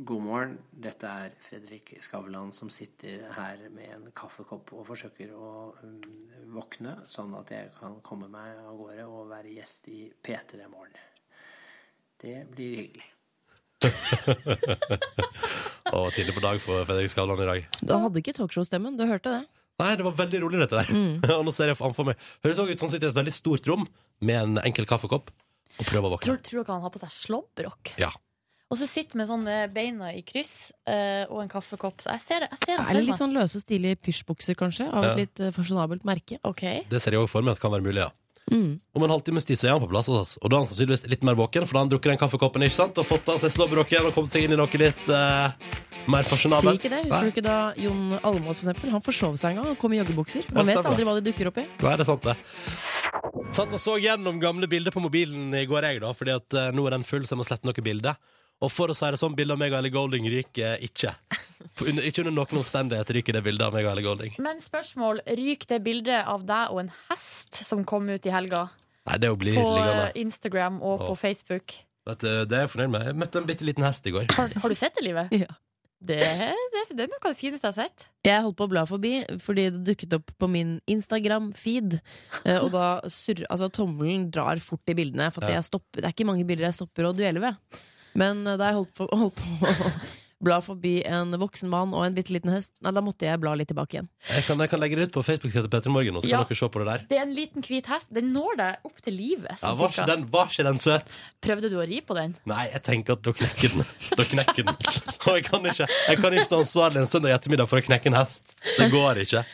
God morgen. Dette er Fredrik Skavlan som sitter her med en kaffekopp og forsøker å mm, våkne, sånn at jeg kan komme meg av gårde og være gjest i P3 i morgen. Det blir hyggelig.
Og tidlig på dag for Fredrik Skavlan i dag.
Du hadde ikke talkshow-stemmen. Du hørte det.
Nei, det var veldig rolig, dette der.
Mm.
Og nå ser jeg foran meg. Høres også ut som han sitter i et veldig stort rom med en enkel kaffekopp og prøver å våkne.
Tror, tror dere han har på seg slåbrok?
Ja.
Og så sitter med sånn med beina i kryss eh, og en kaffekopp. Så jeg ser det. Jeg ser det for
Eller litt
meg.
sånn løse og stilige pysjbukser, kanskje. Av
Ja.
et litt eh, fasjonabelt merke.
Ok.
Det ser jeg òg for meg at kan være mulig, ja.
Mm.
Om en halvtimes tid så er han på plass hos oss. Og da er han sannsynligvis litt mer våken, for da har han drukket den kaffekoppen ikke sant? og fått av seg slåbroken og kommet seg inn i noe litt eh, mer
Si
fasjonabelt.
ikke det.
Nei.
Husker du ikke da Jon Almaas for eksempel, han forsov seg en gang? Han kom i joggebukser. Man
Ja,
vet
stemmer.
aldri hva de dukker opp i.
Nei, det er sant, det. Satt og så gjennom gamle bilder på mobilen i går, jeg, da, fordi at eh, nå er den full, så jeg må slette noen bilder. Og for å si det sånn, bildet av meg og Ellie Golding ryker ikke. For Under, ikke under noen omstendighet ryker det bildet av meg og Ellie Golding.
Men spørsmål. Ryk det bildet av deg og en hest som kom ut i helga?
Nei, det blir
På
liggende.
eh, Instagram og på
Å.
Facebook.
Vet du, det er jeg fornøyd med. Jeg møtte en bitte liten hest i går.
Har, har du sett det, Livet?
Ja.
Det, det, det er noe av det fineste jeg har sett.
Jeg holdt på å bla forbi fordi det dukket opp på min Instagram-feed. eh, Og da surrer Altså, tommelen drar fort i bildene. For at
Ja.
jeg stopper, det er ikke mange bilder jeg stopper å duelle ved. Men eh, da jeg holdt på, holdt på å bla forbi en voksen mann og en bitte liten hest, nei, da måtte jeg bla litt tilbake igjen.
Jeg kan, jeg kan legge det ut på Facebook-sida til Petter Morgen, og så kan
Ja.
dere se på det der.
Det er en liten hvit hest. Den når deg opp til livet.
Ja,
sånn
var
cirka.
ikke den, var ikke den søt?
Prøvde du å ri på den?
Nei, jeg tenker at da knekker den. Da knekker den. Og jeg kan ikke, jeg kan ikke ta ansvarlig en søndag ettermiddag for å knekke en hest. Det går ikke.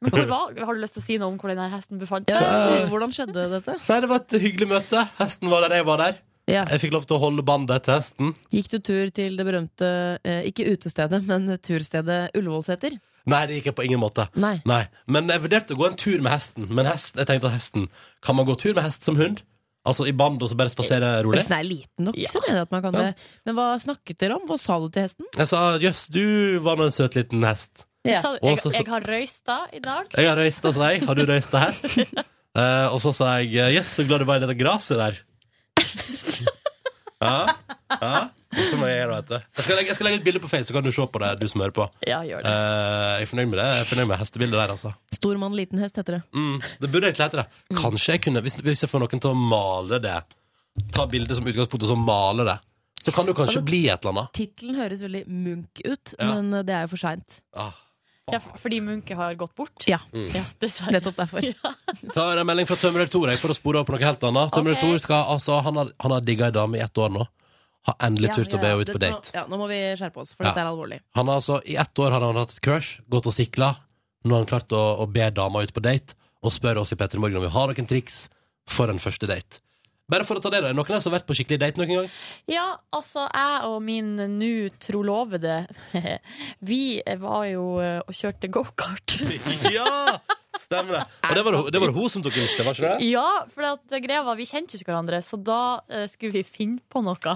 Men hvor var, har du lyst til å si noe om hvor den her hesten befant seg?
Eh, Hvordan skjedde dette?
Nei, det var et hyggelig møte. Hesten var der, jeg var der.
Ja.
Jeg fikk lov til å holde bandet til hesten.
Gikk du tur til det berømte, eh, ikke utestedet, men turstedet Ullevålseter?
Nei, det gikk jeg på ingen måte.
Nei.
Nei, Men jeg vurderte å gå en tur med hesten. Men hest, jeg tenkte at hesten Kan man gå tur med hest som hund? Altså i band og så bare spasere rolig?
Hvis den er liten nok,
Ja.
så mener jeg at man kan
Ja.
det. Men hva snakket dere om? Hva sa du til hesten?
Jeg sa jøss, du var nå en søt liten hest.
Ja.
Så,
Og
jeg,
så-
jeg har røysta i dag.
Jeg har røysta, sa jeg. Har du røysta hest? Eh, og så sa jeg jøss, så glad du var i dette gresset der. ja, ja. Og så må jeg gjøre det, vet du. Jeg skal, legge, jeg skal legge et bilde på Face, så kan du se på det, du som hører på.
Ja, gjør det.
Eh, jeg er fornøyd med det. Jeg er fornøyd med hestebildet der, altså.
Stor mann, liten hest heter det.
Mm, det burde egentlig hete det. Kanskje jeg kunne, hvis, hvis jeg får noen til å male det Ta bildet som utgangspunkt, og så male det. Så kan du kanskje
Altså-
bli et eller annet.
Tittelen høres veldig Munch ut,
Ja.
men eh, det er jo for seint.
Ah.
Ja, fordi Munke har gått bort.
Ja,
Ja, dessverre.
nettopp derfor.
Tar en melding fra Tømrer Tor jeg, for å spore opp på noe helt annet. Tømrer
Ok.
Tor skal, altså, han har, han har digga ei dame i ett år nå. Har endelig
Ja,
turt å
ja,
be
ja.
henne ut på
Dette må-
date.
Ja, nå må vi skjerpe oss, for
Ja.
dette er alvorlig.
Han har altså, I ett år har han hatt et crush, gått og sikla. Nå har han klart å, å be dama ut på date og spør oss i Petter Morgen om vi har noen triks for en første date. Bare for å ta det, da. Er det noen her som har vært på skikkelig date noen gang?
Ja, altså, jeg og min nå trolovede Vi var jo eh, og kjørte gokart.
ja! Stemmer det. Og det var, det var hun som tok initiativet, var ikke det?
Ja, for at greia var vi kjente jo ikke hverandre, så da eh, skulle vi finne på noe.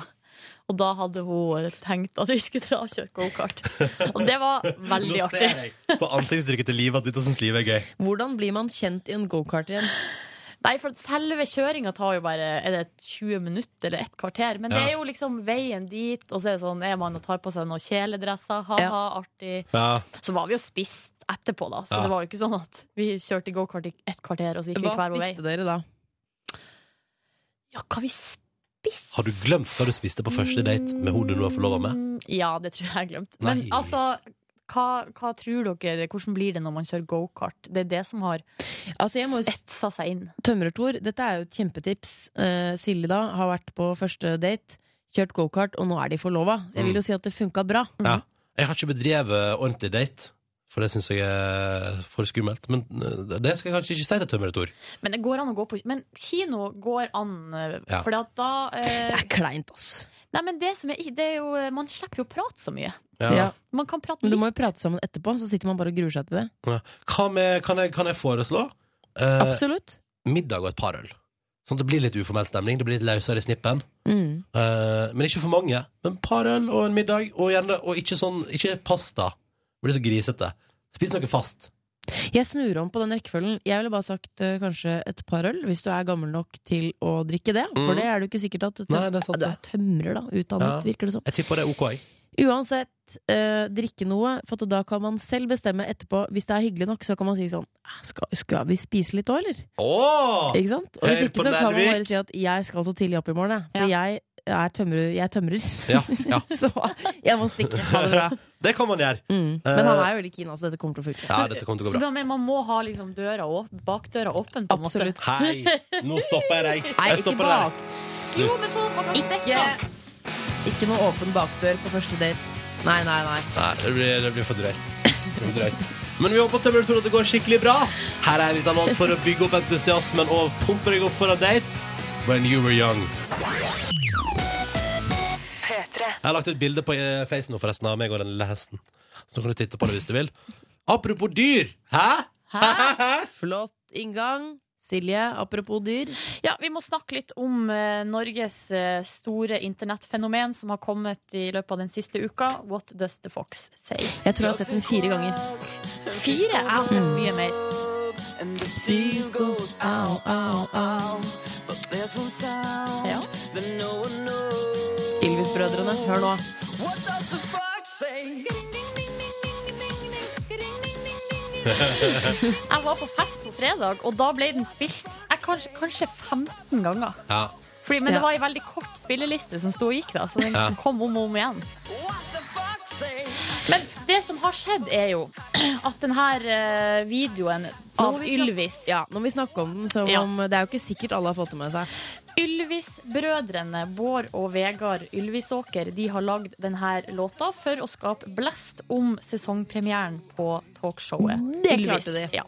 Og da hadde hun eh, tenkt at vi skulle dra og kjøre gokart. Og det var veldig
Nå
artig.
ser jeg på ansiktsuttrykket til Liv at dette syns livet er gøy.
Hvordan blir man kjent i en gokart igjen?
Nei, for at selve kjøringa tar jo bare Er det 20 minutter eller et kvarter. Men det
Ja.
er jo liksom veien dit, og så er det sånn er man og tar på seg noen kjeledresser. Ha-ha, artig.
Ja.
Så var vi jo spist etterpå, da. Så
Ja.
det var jo ikke sånn at vi kjørte gokart i et kvarter, og så gikk vi
Hva
hver vår vei.
spiste dere da?
Ja, hva vi spiste
Har du glemt hva du spiste på første date med hun du nå er forlova med?
Mm, Ja, det tror jeg jeg har glemt.
Nei.
Men altså, hva, hva tror dere? Hvordan blir det når man kjører gokart? Det er det som har
Altså, jeg må jo
etsa seg inn.
Tømmertor, dette er jo et kjempetips. Eh, Silje da har vært på første date, kjørt gokart, og nå er de forlova. Så
Mm.
jeg vil jo si at det funka bra.
Ja. Jeg har ikke bedrevet ordentlig date, for det syns jeg er for skummelt. Men eh, det skal jeg kanskje ikke si til Tømrer Tor.
Men det går an å gå på Men kino går an,
Ja.
for da eh,
Det er kleint, ass.
Nei, men det som er, i- det er jo eh, Man slipper jo å prate så mye.
Ja.
Ja.
Man kan prate
Men
litt.
du må jo prate sammen etterpå, så sitter man bare og gruer seg til det.
Ja. Hva med, kan, jeg, kan jeg foreslå eh,
Absolutt.
middag og et par øl? Sånn at det blir litt uformell stemning. Det blir litt løsere i snippen.
Mm.
Eh, men ikke for mange. Men par øl og en middag, og, gjerne, og ikke, sånn, ikke pasta. Det blir så grisete. Spis noe fast.
Jeg snur om på den rekkefølgen. Jeg ville bare sagt eh, kanskje et par øl, hvis du er gammel nok til å drikke det.
Mm.
For det er du ikke sikkert at du
Nei, det er sant,
Du er tømrer, da. Utdannet,
Ja.
virker det som.
Jeg tipper det er ok. jeg.
Uansett, eh, drikke noe, for at da kan man selv bestemme etterpå. Hvis det er hyggelig nok, så kan man si sånn "Ah, Skal, skal vi spise litt òg, eller?
Åh!
Ikke sant? Og hvis
Hør
ikke,
på
så kan man
Nelvik.
bare si at jeg skal så tidlig opp i morgen, jeg. For
Ja.
jeg er tømrer. Jeg er tømrer.
Ja, ja.
så jeg må stikke. Ha det bra.
Det kan man gjøre.
Mm. Men han er jo veldig keen, altså. Dette kommer til å funke.
Eh. Ja, dette kommer til å
Så
gå bra.
man- man må ha liksom døra åpen, bakdøra åpen, på en måte.
Absolutt.
Hei, nå stopper jeg deg.
Nei,
Jeg
ikke,
stopper
bak,
deg.
Jo,
Slutt.
men sånn at man kan
ikke,
stikke.
ikke noe åpen bakdør på første date. Nei, nei, nei.
Nei, det blir, det blir for drøyt. Det blir drøyt. Men vi håper Tømmer tror at det går skikkelig bra. Her er en liten låt for å bygge opp entusiasmen og pumpe deg opp for en date. When you were young. Jeg har lagt ut bilde på eh, Face nå, forresten, av meg og den lille hesten. Så nå kan du titte på det hvis du vil. Apropos dyr. Hæ?
Hæ?
Flott inngang. Silje, apropos dyr.
Ja, Vi må snakke litt om eh, Norges eh, store internettfenomen som har kommet i løpet av den siste uka. What does the fox say?
Jeg tror jeg har sett den fire ganger.
Fire? Jeg har sett mye mer.
Syv goes out, out, out.
Ja.
Ylvis-brødrene, hør nå.
Jeg var på fest på fredag, og da ble den spilt jeg, kanskje, kanskje 15 ganger.
Ja.
Fordi, men
Ja.
det var ei veldig kort spilleliste som sto og gikk, da, så den
Ja.
kom om og om igjen. Men det som har skjedd, er jo at denne videoen
Nå må
av
vi snakke-
Ylvis
Ja, Nå må vi snakke om den som
Ja.
om Det er jo ikke sikkert alle har fått det med seg.
Ylvis-brødrene Bård og Vegard Ylvisåker De har lagd denne låta for å skape blest om sesongpremieren på talkshowet.
Det klarte de.
Ja.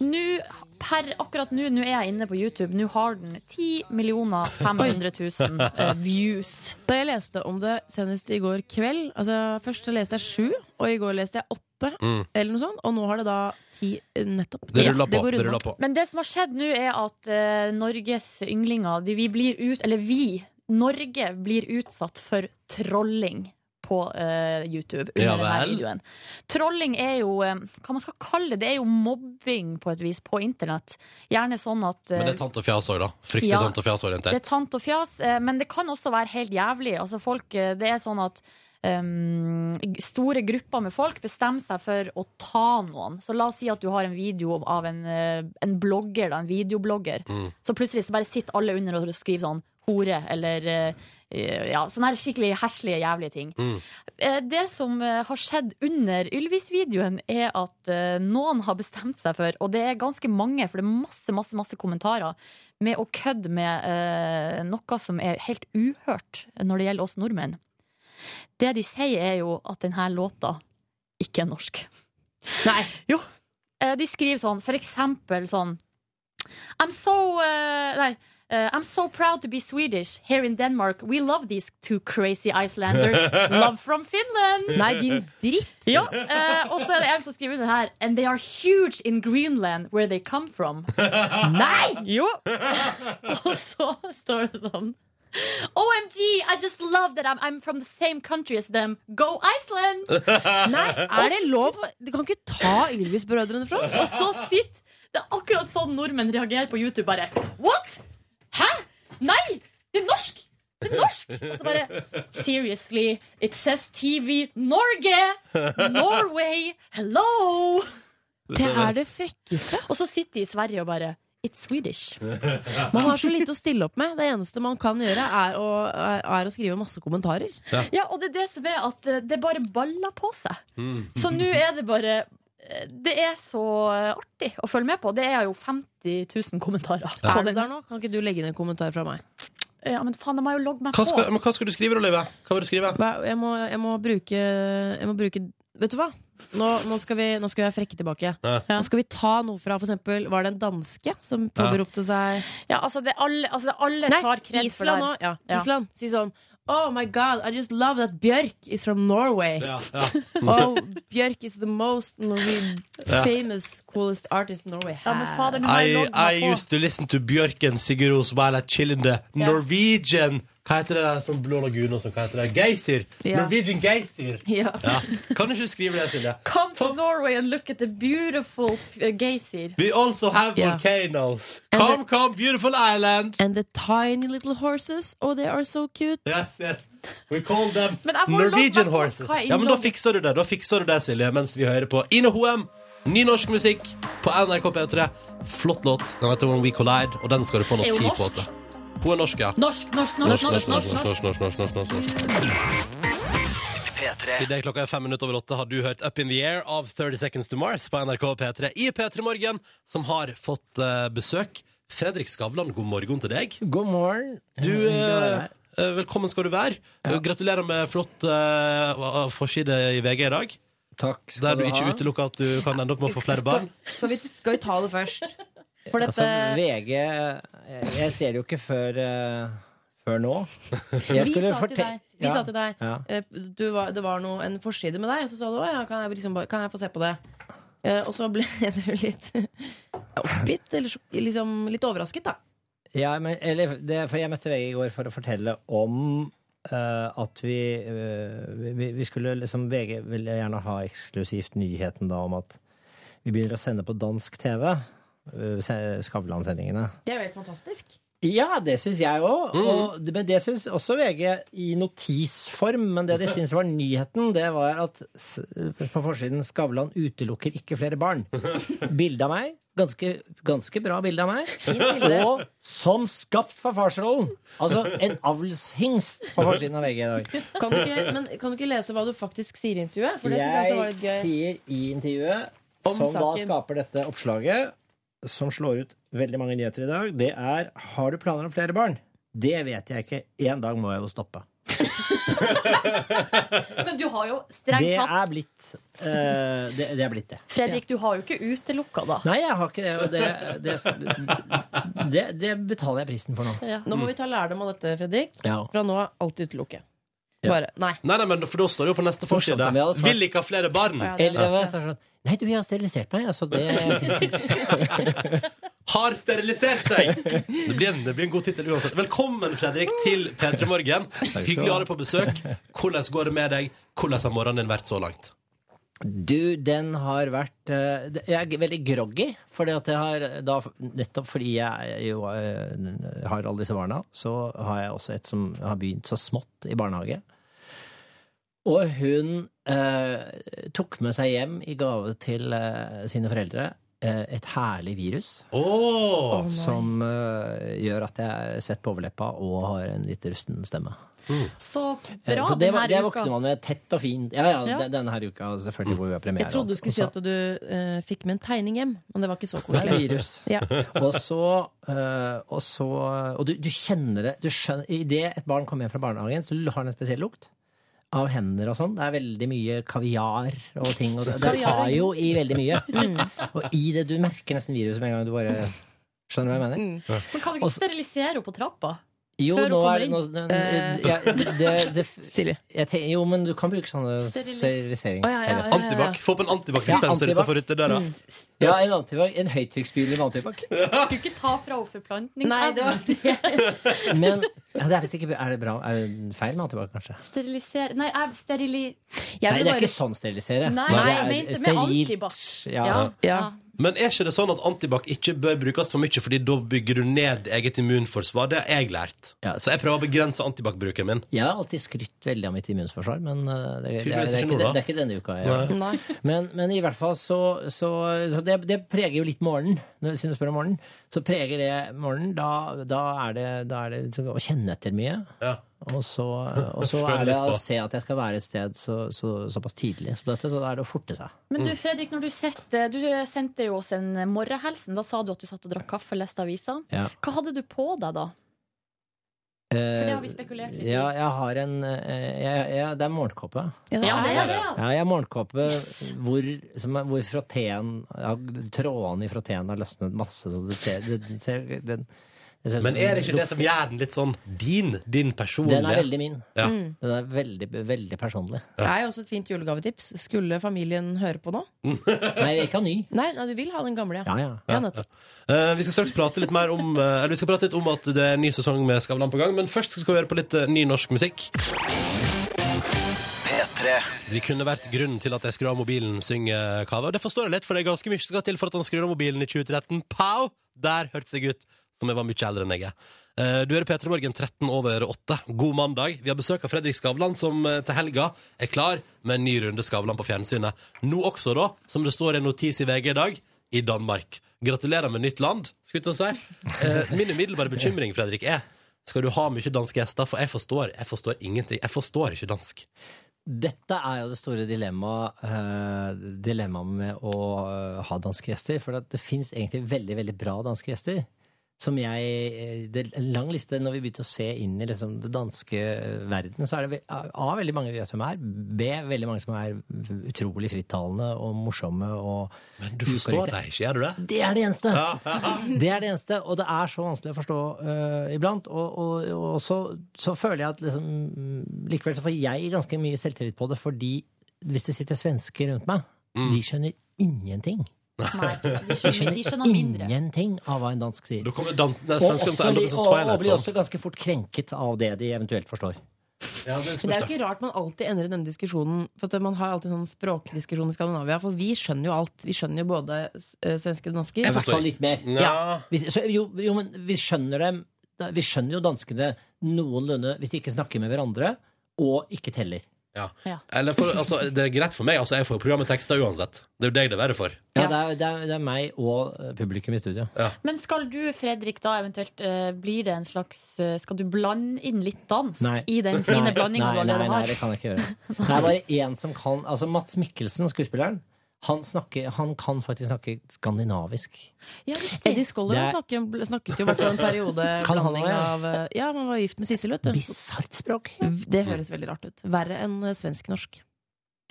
Nå, per akkurat nå, nå er jeg inne på YouTube, nå har den 10 500 000 eh, views.
Da jeg leste om det senest i går kveld altså Først så leste jeg sju, og i går leste jeg åtte.
Mm.
Eller noe sånt, og nå har det da ti eh, nettopp.
Det
Ja,
ruller på.
går
Det
unna.
ruller på.
Men det som har skjedd nå, er at eh, Norges ynglinger de, Vi blir ut, eller vi, Norge, blir utsatt for trolling på på eh, YouTube. Under
Ja
denne
vel.
videoen Trolling er jo eh, hva man skal kalle det, det er jo mobbing på et vis på internett. Gjerne sånn at
Men
eh,
det er tant og fjas òg, da. Fryktelig
Ja.
tant og fjas
det
orientert.
er tant og fjas, eh, men det kan også være helt jævlig. Altså folk, eh, det er sånn at um, store grupper med folk bestemmer seg for å ta noen. Så la oss si at du har en video av en, eh, en blogger, da, en videoblogger.
Mm.
Så plutselig så bare sitter alle under og skriver sånn hore, eller eh, eh, ja, sånne her skikkelig herslige, jævlige ting.
Mm.
Eh, Det som eh, har skjedd under Ylvis-videoen, er at eh, noen har bestemt seg for, og det er ganske mange, for det er masse, masse, masse kommentarer, med å kødde med eh, noe som er helt uhørt når det gjelder oss nordmenn. Det de sier, er jo at denne låta ikke er norsk. Nei. Jo. Eh, De skriver sånn, for eksempel sånn I'm so eh, Nei. eh, I'm so proud to be Swedish. Here in Denmark, we love these two crazy Icelanders. Love from Finland!
Nei, din dritt!
Ja, eh, og så er det en som skriver under her And they are huge in Greenland where they come from Nei! Jo! og så står det sånn OMG, I just love that I'm, I'm from the same country as them Go Iceland!
Nei, er det lov? Du kan ikke ta Ylvis-brødrene fra oss!
Og så sitt Det er akkurat sånn nordmenn reagerer på YouTube bare What? Hæ? Nei! Det er norsk! Det er norsk! Og så bare Seriously, it says TV Norge! Norway! Hello!
Det er det frekkeste.
Og så sitter de i Sverige og bare It's Swedish.
Man har så lite å stille opp med. Det eneste man kan gjøre, er å, er å skrive masse kommentarer.
Ja, og det er det som er at eh, det bare baller på seg.
Mm.
Så nå er det bare eh, Det er så eh, artig å følge med på. Det er jo 50 000 kommentarer. på
Er du
den.
der nå? Kan ikke du legge ned en kommentar fra meg?
Ja, men faen, de har jo logget meg
Hva skal,
på.
men hva skal du skrive, da, Live? Hva vil du skrive?
Hva- Jeg må, jeg må, bruke, jeg må bruke Vet du hva? Nå, nå, skal vi, nå skal jeg frekke tilbake. Nå skal vi ta noe fra for eksempel, Var det en danske som påberopte seg
Ja, altså, det er alle, altså, det er alle
Nei,
tar kred for det.
Island
her.
òg. Ja,
Ja.
Island. Si sånn Oh my god, I just love that Bjørk is from Norway.
ja.
Oh, Bjørk is the most Norwegian
Ja.
famous, coolest artist Norway has.
Ja, men fader, nå har jeg
I,
logget
I
meg på.
used to listen to Bjørken Sigurdos while I chill in the Norwegian Hva heter det der som Blå Lagune og sånn? Hva heter det? Geysir?
Ja.
Norwegian Geysir.
Ja.
Ja. Kan du ikke skrive det, Silje?
Come to
Topp.
Norway and look at the beautiful uh, geysir.
We also have
Ja.
volcanoes.
And
Come, come, beautiful island.
And the tiny little horses. Oh, they are so cute.
Yes, yes. We call them
Men jeg må logge
Norwegian
meg på.
horses.
Hva er
Ja, men da
innlogg-
fikser du det, da fikser du det, Silje, mens vi hører på Ine Hoem. Ny norsk musikk på NRK P3. Flott låt. Den heter When We Collide, og den skal du få nå
Er hun
ti på
norsk?
åtte. Hun er norsk, ja.
Norsk, norsk, norsk, norsk, norsk, norsk.
norsk, norsk, norsk, norsk, norsk. Idet klokka er fem minutter over åtte, har du hørt Up in the Air av 30 Seconds to Mars på NRK P3 i P3 Morgen, som har fått eh, besøk. Fredrik Skavlan, god morgen til deg.
God morgen.
Du,
Hyggelig å være
eh,
her.
eh, velkommen skal du være. Gratulerer med flott eh, å- å- forside i VG i dag,
Takk
der du ikke
ha.
utelukker at du kan ende opp med å få flere barn.
Skal vi, skal vi ta det først? For
Altså,
dette
VG jeg- Jeg ser det jo ikke før, eh, før nå. Jeg
vi
skulle
sa, til
fortel-
deg, vi
Ja.
sa til deg
Ja.
eh, du var, Det var noe, en forside med deg, og så sa du å ja, kan jeg, liksom, bare- kan jeg få se på det? Eh, og så ble du litt oppgitt, eller så- liksom litt overrasket, da.
Ja, men, eller, det, for jeg møtte VG i går for å fortelle om eh, at vi, eh, vi Vi skulle liksom VG ville gjerne ha eksklusivt nyheten da om at vi begynner å sende på dansk TV. eh, se- Skavlan-sendingene.
Det er jo helt fantastisk.
Ja, det syns jeg òg. Og men det syns også VG i notisform. Men det de syns var nyheten, det var at s- på forsiden 'Skavlan utelukker ikke flere barn'. Bilde av meg. Ganske, ganske bra bilde av meg.
bilde.
Og som skapt for farsrollen! Altså en avlshingst på forsiden av VG i dag.
Kan du ikke, men kan du ikke lese hva du faktisk sier i intervjuet? For det synes jeg
Jeg
også var litt gøy.
sier i intervjuet,
Om
som da
saken.
skaper dette oppslaget, som slår ut veldig mange nyheter i dag, det er 'Har du planer om flere barn?' Det vet jeg ikke. En dag må jeg jo stoppe.
Men du har jo
Det
strengt
er
tatt
blitt eh, det, det er blitt det.
Fredrik, du har jo ikke utelukka, da.
Nei, jeg har ikke det. Og det, det, det, det betaler jeg prisen for nå.
Nå må vi ta lærdom av dette, Fredrik.
Ja.
Fra nå av alltid utelukke.
Ja.
Bare nei.
Nei, nei, men for da står det jo på neste
Fortsatt,
forside.
men jeg hadde svart.
Vil ikke ha flere barn.
Å, ja, det er
Eller
sant,
så er det sånn Nei, du, jeg har sterilisert meg. Altså, det
har sterilisert seg! Det blir en, det blir en god tittel uansett. Velkommen, Fredrik, til P3 Morgen.
skal du
Hyggelig å
ha.
ha deg på besøk. Hvordan går det med deg? Hvordan har morgenen din vært så langt?
Du, den har vært eh, det- Jeg er veldig groggy, fordi at jeg har da Nettopp fordi jeg jo eh, har alle disse barna, så har jeg også et som har begynt så smått i barnehage. Og hun eh, tok med seg hjem i gave til eh, sine foreldre eh, et herlig virus.
Åh,
Som eh, gjør at jeg er svett på overleppa og har en litt rusten stemme.
Så
Eh,
bra
så det, var-
denne
det
uka.
våkner man med tett og fint. Ja, ja,
Ja.
den- denne her uka selvfølgelig hvor vi har premiere.
Jeg trodde du skulle si at du eh, fikk med en tegning hjem, men det var ikke så
Altså- det er
koselig.
virus.
Ja.
Og så, eh, og så Og du, du kjenner det. Du skjønner, I det et barn kommer hjem fra barnehagen, så har den en spesiell lukt. Av hender og sånn. Det er veldig mye kaviar og ting. Og det, det
Kaviar. Mm.
tar jo i veldig mye. Og i det du merker nesten viruset med en gang du bare Skjønner du hva jeg mener?
Men kan du ikke
Også-
sterilisere henne på trappa?
Jo,
Før du
nå
kommer
er det
inn.
nå- nå-
Eh.
ja, det- det-
Silje.
Jeg tenker, jo, men du kan bruke sånne
Sterilis-
steriliserings...
Å, ja, ja, ja.
Antibac. Få opp en antibac-dispenser
Ja, antibac.
utenfor ytterdøra.
Mm. Ja, en antibac. En høytrykksspyler med antibac.
Skal du ikke ta fra henne
Nei, det
forplantningsevnen?
var det.
Men ja, det er visst ikke Er det bra? Er det feil med antibac, kanse?
Sterilisere Nei, jeg sterili...
Jeg
Nei, det
vil
er
bare
ikke sånn sterilisere.
Nei,
Det
jeg
er
mente med
sterilt.
antibac.
Ja.
Ja.
Men er ikke det sånn at antibac ikke bør brukes for mye, fordi da bygger du ned eget immunforsvar? Det har jeg lært.
Ja.
Så jeg prøver å begrense antibac-bruken min.
Jeg har alltid skrytt veldig av mitt immunforsvar, men uh, det, det, er,
Tydeligvis
det, er,
ikke
ikke,
nå, da.
det er ikke denne uka. Jeg.
Nei.
Men, men i hvert fall så, så, så det, det preger jo litt morgenen. Når- Siden du spør om morgenen, så preger det morgenen. Da, da er det, da er det liksom å kjenne etter mye.
Ja.
Og så, og så er
Føle litt
det å
på.
se at jeg skal være et sted så, så, såpass tidlig. Så, dette, så da er det å forte seg.
Men
Mm.
du, Fredrik, når du, sette, du eh, sendte jo oss en morgenhelsen. Da sa du at du satt og drakk kaffe og leste aviser.
Ja.
Hva hadde du på deg da? For det har vi spekulert litt i.
Eh, Ja, jeg har en eh, jeg, jeg, Det er morgenkåpe.
Ja, det
ja,
er det, ja.
Ja, jeg har morgenkåpe
Yes.
hvor, som er- hvor frotteen ja, Trådene i frotteen har løsnet masse, så det ser, det, det ser, den, det ser
Men er det ikke det som gjør den litt sånn din? Din personlige?
Den er veldig min.
Ja.
Den er veldig, veldig personlig.
Det er jo også et fint julegavetips. Skulle familien høre på nå?
Nei, jeg ikke av ny.
Nei, nei, du vil ha den gamle,
Ja, ja.
Ja, nettopp.
Eh, vi skal straks prate litt mer om eh, Eller vi skal prate litt om at det er en ny sesong med Skavlan på gang, men først skal vi høre på litt eh, ny norsk musikk. Det kunne vært grunnen til at jeg skrur av mobilen, synger Kaveh. Og det forstår jeg litt, for det er ganske mye som skal til for at han skrur av mobilen i 2013. Pow! Der hørtes jeg ut som jeg var mye eldre enn jeg er. Eh, Du hører P3 Morgen 13 over 8. God mandag. Vi har besøk av Fredrik Skavlan, som eh, til helga er klar med en ny runde Skavlan på fjernsynet. Nå også, da, som det står i en notis i VG i dag, i Danmark. Gratulerer med nytt land, skal vi til å si. Eh, Min umiddelbare bekymring, Fredrik, er skal du ha mye danske gjester? For jeg forstår, jeg forstår ingenting. Jeg forstår ikke dansk.
Dette er jo det store dilemmaet eh, dilemmaet med å eh, ha danske gjester. For at det fins egentlig veldig veldig bra danske gjester. Som jeg, eh, det er en lang liste Når vi begynte å se inn i liksom det danske eh, verden, så er det ve- A. veldig mange vi vet hvem er. B. veldig mange som er utrolig frittalende og morsomme. Og
Men du forstår deg ikke, gjør du det?
det er det eneste! Det er det eneste, og det er så vanskelig å forstå eh, iblant. Og, og, og så, så føler jeg at liksom, mm, likevel så får jeg ganske mye selvtillit på det, fordi hvis det sitter svensker rundt meg,
Mm.
de skjønner ingenting.
Nei, de
De
skjønner,
skjønner
de skjønner mindre.
ingenting av hva en dansk sier.
Da kommer dan nei,
Og,
svenskene til å
også,
ende
de-
opp som
og, og
Twilight sånn.
blir
Zone.
også ganske fort krenket av det de eventuelt forstår.
Ja, det er
Men det er
spørs,
jo ikke rart man alltid ender i denne diskusjonen. For at Man har alltid en sånn språkdiskusjon i Skandinavia, for vi skjønner jo alt. Vi skjønner jo både eh, svensker og
I
dansker.
Jeg
hvert
forstår.
fall litt mer.
da. Ja.
Hvis- så, jo, jo, men vi skjønner dem da- Vi skjønner jo danskene noenlunde hvis de ikke snakker med hverandre og ikke teller.
Ja.
Ja.
Eller for, altså, det er greit for meg. Altså, jeg får jo programmet tekster uansett. Det er jo deg det er verre for.
Ja, det, er, det, er, det er meg og eh, publikum i studio.
Men skal du, Fredrik, da eventuelt eh, blir det en slags eh, Skal du blande inn litt dansk
Nei.
i den fine
Nei,
blandinga
nei,
du allerede
nei,
har?
det kan jeg ikke gjøre. Det er bare én som kan Altså Mats Mikkelsen, skuespilleren, han, snakker, han kan faktisk snakke skandinavisk.
Ja, riktig.
Eddie Scholler
Det er-
snakket, bl- snakket jo i hvert fall en periode
Kan han
blanding
også, ja?
av eh, Ja, man var gift med Sissel, vet du.
Bisart språk.
Det høres veldig rart ut. Verre enn eh, svensk-norsk.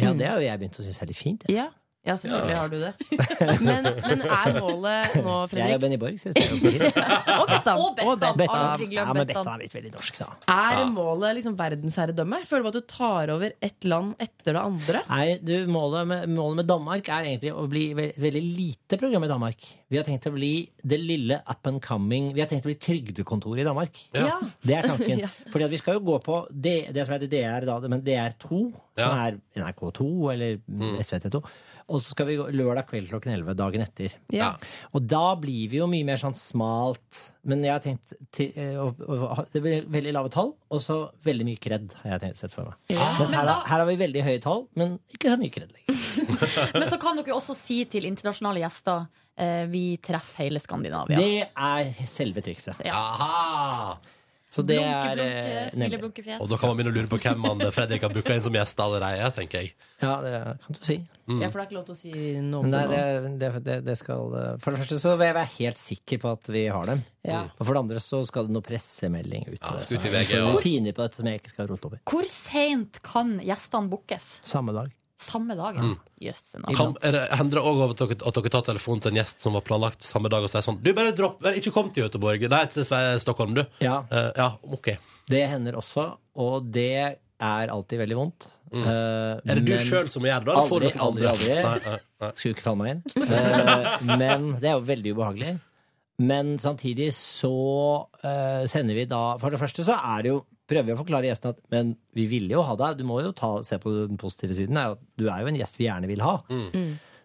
Ja, det har jo jeg begynt å synes er litt fint. jeg.
Ja. Ja, selvfølgelig har du det. Men, men er målet nå,
Jeg og
Fredrik
Benny Borg syns det er ok.
Og Bettan.
Og Bettan.
Og Bettan.
Aldri glem
Ja, men
Bettan.
Bettan er blitt veldig norsk, da.
Er målet liksom verdensherredømme? Føler du at du tar over ett land etter det andre?
Nei, du, målet med, målet med Danmark er egentlig å bli ve- et veldig lite program i Danmark. Vi har tenkt å bli det lille up and coming Vi har tenkt å bli trygdekontoret i Danmark.
Ja.
Det er tanken.
Ja.
Fordi at vi skal jo gå på det, det som heter DR, da, men DR2, som
Ja.
er NRK2 eller SVT2. Og så skal vi gå lørdag kveld klokken 11 dagen etter.
Ja.
Og da blir vi jo mye mer sånn smalt. Men jeg har tenkt til, eh, å, å, ha- Det blir veldig lave tall, og så veldig mye kred, har jeg tenkt, sett for meg. Mens her, har- her har vi veldig høye tall, men ikke så mye kred lenger.
Men så kan dere jo også si til internasjonale gjester eh, vi treffer hele Skandinavia.
Det er selve trikset.
Aha!
Så det er eh, nemlig.
Og da kan man begynne å lure på hvem man Fredrik har booka inn som gjest allerede, tenker jeg.
Ja, det kan du si.
Ja, for det er ikke lov til å si noe.
Men det,
nå.
det, det, det, det skal eh, For det første så vil jeg være helt sikker på at vi har dem.
Ja.
Og for det andre så skal det noe pressemelding ut.
Ja,
av det.
skal ut i VG
Jeg
og
Rutiner på dette som jeg ikke skal rote over.
Hvor seint kan gjestene bookes?
Samme dag.
Samme dag? ja. Jøsse navn.
kan, er det, Hender det òg at dere, at dere tar telefonen til en gjest som var planlagt samme dag, og sier sånn Du, bare dropp, bare ikke kom til Göteborg. Nei, til Sve- Stockholm, du.
Ja,
Eh, ja, OK.
Det hender også, og det er alltid veldig vondt.
Mm.
Eh,
Er det du sjøl som gjør det, da? eller får
Aldri,
noen andre?
aldri, aldri.
Nei, nei, nei.
Skulle ikke falle meg inn. Eh, men det er jo veldig ubehagelig. Men samtidig så eh, sender vi da For det første så er det jo Prøver vi å forklare gjesten at Men vi ville jo ha deg. Du må jo ta, se på den positive siden. er jo at Du er jo en gjest vi gjerne vil ha.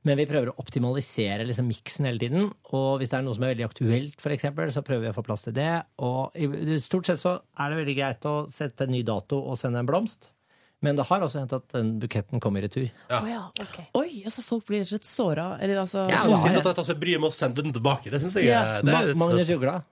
Men vi prøver å optimalisere liksom miksen hele tiden. Og hvis det er noe som er veldig aktuelt, for eksempel, så prøver vi å få plass til det. Og i- stort sett så er det veldig greit å sette en ny dato og sende en blomst. Men det har også hendt at den buketten kom i retur.
Å ja, ok.
Oi, altså folk blir rett og slett såra. Eller altså
Jeg
Ja,
syns
ja.
ikke at jeg tar seg bryet med å sende den tilbake. Det synes jeg
Ja.
er, det er
Ma-
litt sånn-
Magnus
stress.
Ugla.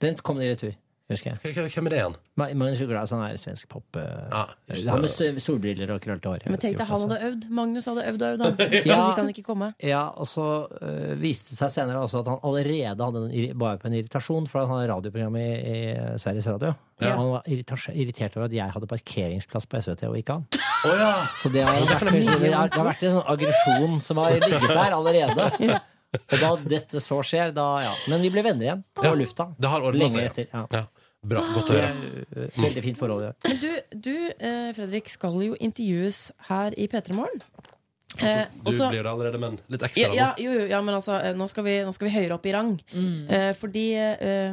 Den kom i retur, husker jeg.
Hvem hvem er det igjen?
Ma- Magnus Ugla er sånn her svensk pop... eh,
Ja, just
han med
det.
s- solbriller og krøllete hår.
Men tenk deg, han hadde øvd. Magnus hadde øvd og øvd, han. Så
Ja.
fikk han ikke komme.
Ja, og så øh, viste det seg senere også at han allerede hadde en, irri- bare på en irritasjon, for han har radioprogram i, i Sveriges Radio.
Ja.
Han var irritas- irritert over at jeg hadde parkeringsplass på SVT og ikke han.
Å ja!
Så det har vært, det har, det har vært en sånn aggresjon som har ligget der allerede. Og da dette så skjer, da ja. Men vi ble venner igjen på
Ja.
lufta.
Det har ordnet
Lenge
seg,
etter. Ja.
ja. Bra. Godt å
Det
høre.
er, øh, Veldig fint forhold. Ja.
Men du, du eh, Fredrik, skal jo intervjues her i P3 Morgen. Eh,
Altså, Du
også-
blir det allerede, men litt
ja,
ekstra.
ja,
nå.
jo, jo, ja, men altså, eh, nå skal, vi, nå skal vi høyere opp i rang. Eh, fordi eh,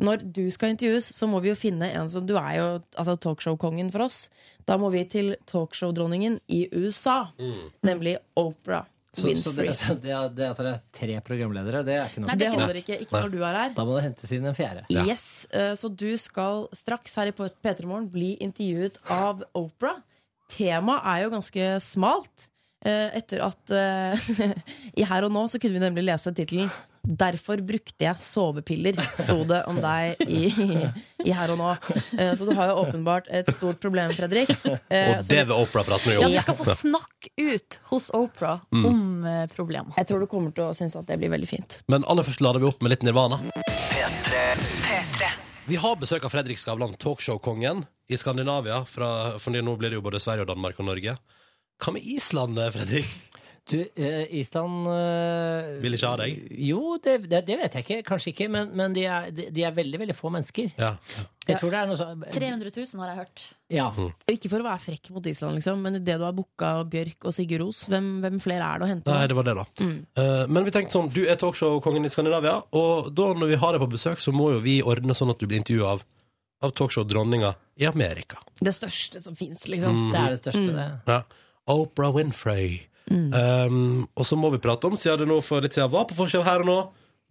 når du skal intervjues, så må vi jo finne en som Du er jo altså, talkshow-kongen for oss. Da må vi til talkshow-dronningen i USA,
Mm.
nemlig Opera
Så, så det,
Winfrey.
så det, det at det er tre programledere, det er ikke noe.
Nei, det holder ikke. Ikke
Nei.
når du er her.
Da må det hentes inn en fjerde.
Ja.
Yes, eh, Så du skal straks her i P3 Morgen bli intervjuet av Opera. Temaet er jo ganske smalt. eh, Etter at eh, I Her og nå så kunne vi nemlig lese tittelen 'Derfor brukte jeg sovepiller', sto det om deg i, i Her og nå. Eh, Så du har jo åpenbart et stort problem, Fredrik. Eh,
Og
så-
det vil Opera prate mye
Ja,
om.
vi skal få snakke ut hos Opera om eh, problemer.
Jeg tror du kommer til å synes at det blir veldig fint.
Men aller først lader vi opp med litt Nirvana. Vi har besøk av Fredrik Skavlan, talkshow-kongen i Skandinavia. Fra, for nå blir det jo både Sverige og Danmark og Norge. Hva med Island, eh, Fredrik?
Du, eh, Island eh,
Vil ikke ha deg?
Jo, det, det, det vet jeg ikke. Kanskje ikke. Men, men de, er, de, de er veldig, veldig få mennesker.
Ja.
Jeg tror det er noe sånn
300 000 har jeg hørt.
Ja.
Ikke for å være frekk mot Island, liksom, men det du har booka Bjørk og Sigurd Ros, hvem, hvem flere er det å hente?
Nei, det var det, da.
Mm.
Eh, men vi tenkte sånn, du er talkshow-kongen i Skandinavia, og da når vi har deg på besøk, så må jo vi ordne sånn at du blir intervjua av, av talkshow-dronninga i Amerika.
Det største som fins, liksom.
Det er det største, det.
Ja. Oprah Winfrey.
Mm.
Um, og så må vi prate om, siden det nå for litt siden var på forskjell her og nå.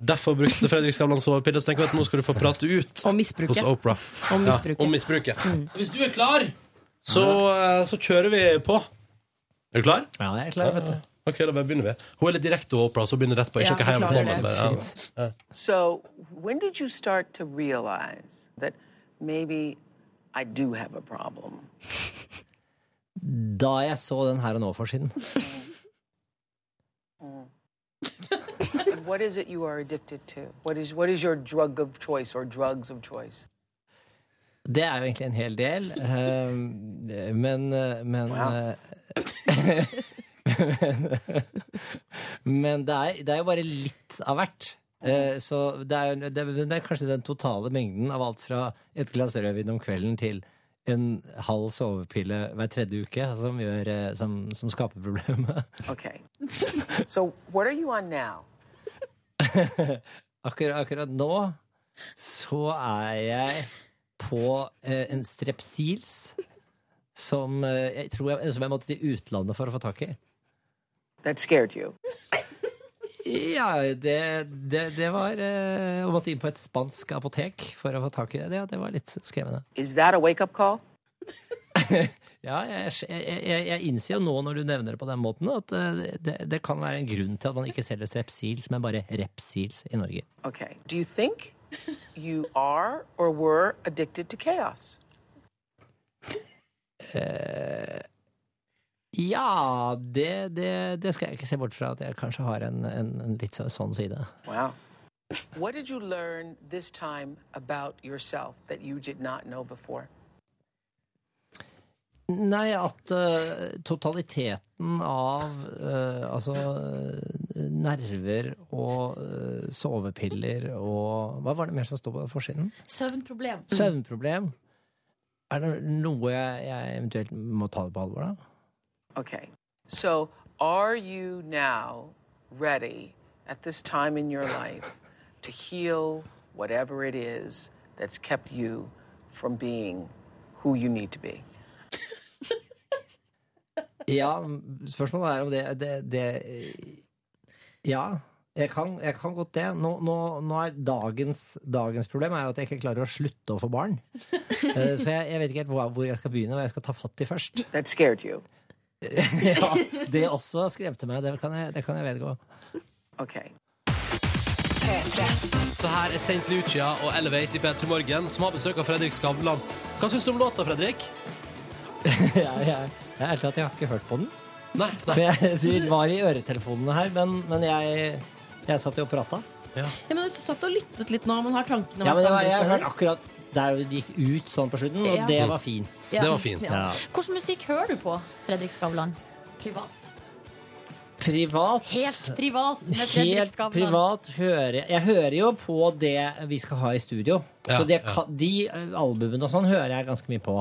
Derfor brukte Fredrik Skavlan sovepille. Så tenker vi at nå skal du få prate ut
Og misbruket.
hos Oprah.
Om misbruket.
om misbruket.
Mm.
Så hvis du er klar, så, eh, så kjører vi på. Er du klar?
Ja, jeg er klar, vet du.
Ok, da bare begynner vi. Hun er litt direkte, Oprah, så begynner rett på. Ikke
Ja,
noe heim på den,
beklager det.
men, ja.
So, when did you start to realize that maybe I do have a problem?
Da jeg så den her og nå-forsiden.
What is it you are addicted to? What is what is your drug of choice or drugs of choice?
Det er jo ehm, egentlig en hel del. eh, men eh, men eh, Men det er, det er jo bare litt av hvert. Eh, Så det er, jo- det, er- det er kanskje den totale mengden av alt fra et glass rødvin om kvelden til en halv sovepille hver tredje uke som, gjør, eh, som, som skaper problemet.
Okay. so what are you on now?
Akkurat, akkurat nå så er jeg på eh, en strepsils som eh, jeg tror jeg, som jeg måtte til utlandet for å få tak i.
That scared you.
Ja, det, det, det var eh, Å måtte inn på et spansk apotek for å få tak i det. Det, det var litt skremmende.
Is that a wake up call?
Ja, jeg, jeg, jeg, jeg innser jo nå når du nevner det på den måten, at eh, det, det kan være en grunn til at man ikke selger Strepsils, men bare Repsils i Norge.
Okay. Do you think you are or were addicted to chaos?
Eh, Ja, det, det, det skal jeg ikke se bort fra at jeg kanskje har en, en, en litt så- sånn side.
Wow. What did you learn this time about yourself that you did not know before?
Nei, at eh, totaliteten av eh, altså eh, nerver og eh, sovepiller og Hva var det mer som sto på forsiden?
Søvnproblem.
Søvnproblem. Er det noe jeg, jeg eventuelt må ta det på alvor, da?
Okay. So, are you now ready at this time in your life to heal whatever it is that's kept you from being who you need to be?
Ja, spørsmålet er om det, det, det Ja, jeg kan, jeg kan godt det. Nå, nå, nå er dagens, dagens problem er jo at jeg ikke klarer å slutte å få barn. Eh, Så jeg, jeg vet ikke helt hvor, hvor jeg skal begynne, hva jeg skal ta fatt i først.
That scared you.
Ja, det også skremte meg. Det kan jeg, det kan jeg vedgå.
Okay.
Det her er St. Lucia og Elevate i P3 Morgen, som har besøk av Fredrik Skavlan. Hva syns du om låta, Fredrik?
Jeg, jeg, jeg, ærlig talt, jeg har ikke hørt på den.
Nei,
For
nei.
jeg, de var i øretelefonene her, men, men jeg, jeg satt jo og prata.
Ja, men du satt og lyttet litt nå, men har tankene
Ja, men
vært
jeg,
andre
jeg,
steder?
hørte akkurat der det gikk ut sånn på slutten, og
Ja.
det var fint.
Ja.
Det var fint.
Ja.
Hvordan musikk hører du på, Fredrik Skavlan? Privat.
Privat
Helt privat med Fredrik
Helt
Skavlan.
privat hører jeg Jeg hører jo på det vi skal ha i studio.
Ja,
så det,
ja.
kan- De eh, albumene og sånn hører jeg ganske mye på.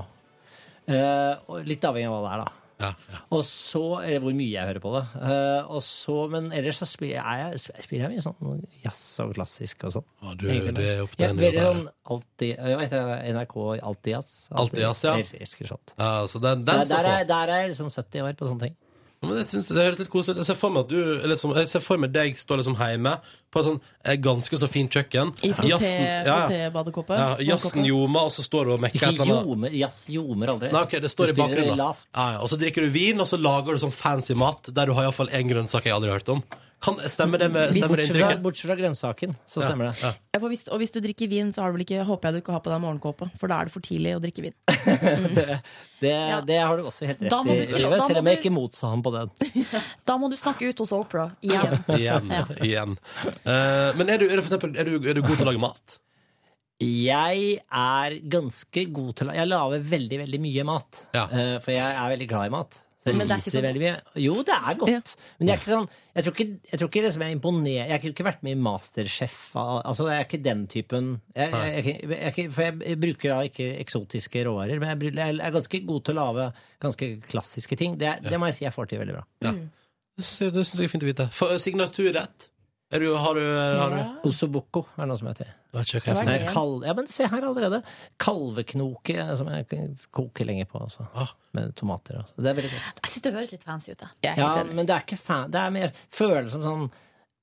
Eh, og litt avhengig av hva det er, da.
Ja, ja.
Og så, eller hvor mye jeg hører på det. Eh, og så, men ellers så spiller jeg, er jeg, spiller jeg mye sånn jazz og klassisk og sånn.
Ja, du, det er opp til
Jeg
en
spiller
låt
sånn
her.
alltid Hva heter det? NRK Alltid Jazz?
Alltid Jazz, ja.
Jeg elsker sånt.
Ja, så den,
Der,
den står
der,
på.
er, der er jeg liksom 70 år på sånne ting.
Men jeg synes det høres litt koselig ut. Jeg ser for meg at du eller som- Jeg ser for meg deg stå liksom hjemme på et sånn eh, ganske så fint kjøkken.
I
Jazzen- ja, ja.
foté-badekåpet?
Ja, Jazzen ljomer, og så står du og mekker
Ikke
et eller annet.
ljomer, jazz ljomer aldri.
Nei, ok, det står i
Du spiller
bakgrunnen. da.
lavt.
Ja, ja. Og så drikker du vin, og så lager du sånn fancy mat der du har iallfall én grønnsak jeg aldri har hørt om. Kan, stemmer det med stemmer det
Bortsett fra,
inntrykket?
bortsett fra grønnsaken, så stemmer det.
Ja, for hvis, og hvis du drikker vin, så har du vel ikke, håper jeg du ikke har på deg morgenkåpe, for da er det for tidlig å drikke vin.
Det, det har du også helt rett
Da må
i,
du-
Livet,
da må
selv om jeg
du-
ikke motsa ham på den.
Da må du snakke ut hos Opera igjen.
Igjen.
Ja.
igjen. Eh, men er du, er, du for eksempel, er, du, er du god til å lage mat?
Jeg er ganske god til å Jeg lager veldig, veldig mye mat.
Ja.
Eh, For jeg er veldig glad i mat. Så jeg
Men det er ikke
spiser
så
veldig mye. Jo, det er godt. Men jeg er ikke sånn Jeg tror ikke, jeg tror ikke liksom jeg er imponer... Jeg har ikke vært med i Masterchef. al- Altså, jeg er ikke den typen. Jeg, jeg, jeg, jeg, er ikke- for jeg- jeg bruker da ikke eksotiske råvarer, men jeg, bru- jeg er ganske god til å lage ganske klassiske ting. Det, det må jeg si jeg får til veldig bra.
Det syns jeg, det synes jeg er fint å vite. For, eh, signaturrett? Er du, har du, eh, har du
Ah. Osoboko er noe som heter.
Vet ikke hva jeg
Nei,
finner.
kal ja, men se her allerede. Kalveknoke, eh, som jeg koker lenge på. Også.
Ah.
Med tomater. Også. Det er veldig godt.
Jeg syns det høres litt fancy ut. jeg.
Jeg er
Ja,
helt enig.
men det er ikke fan... Det er mer følelsen sånn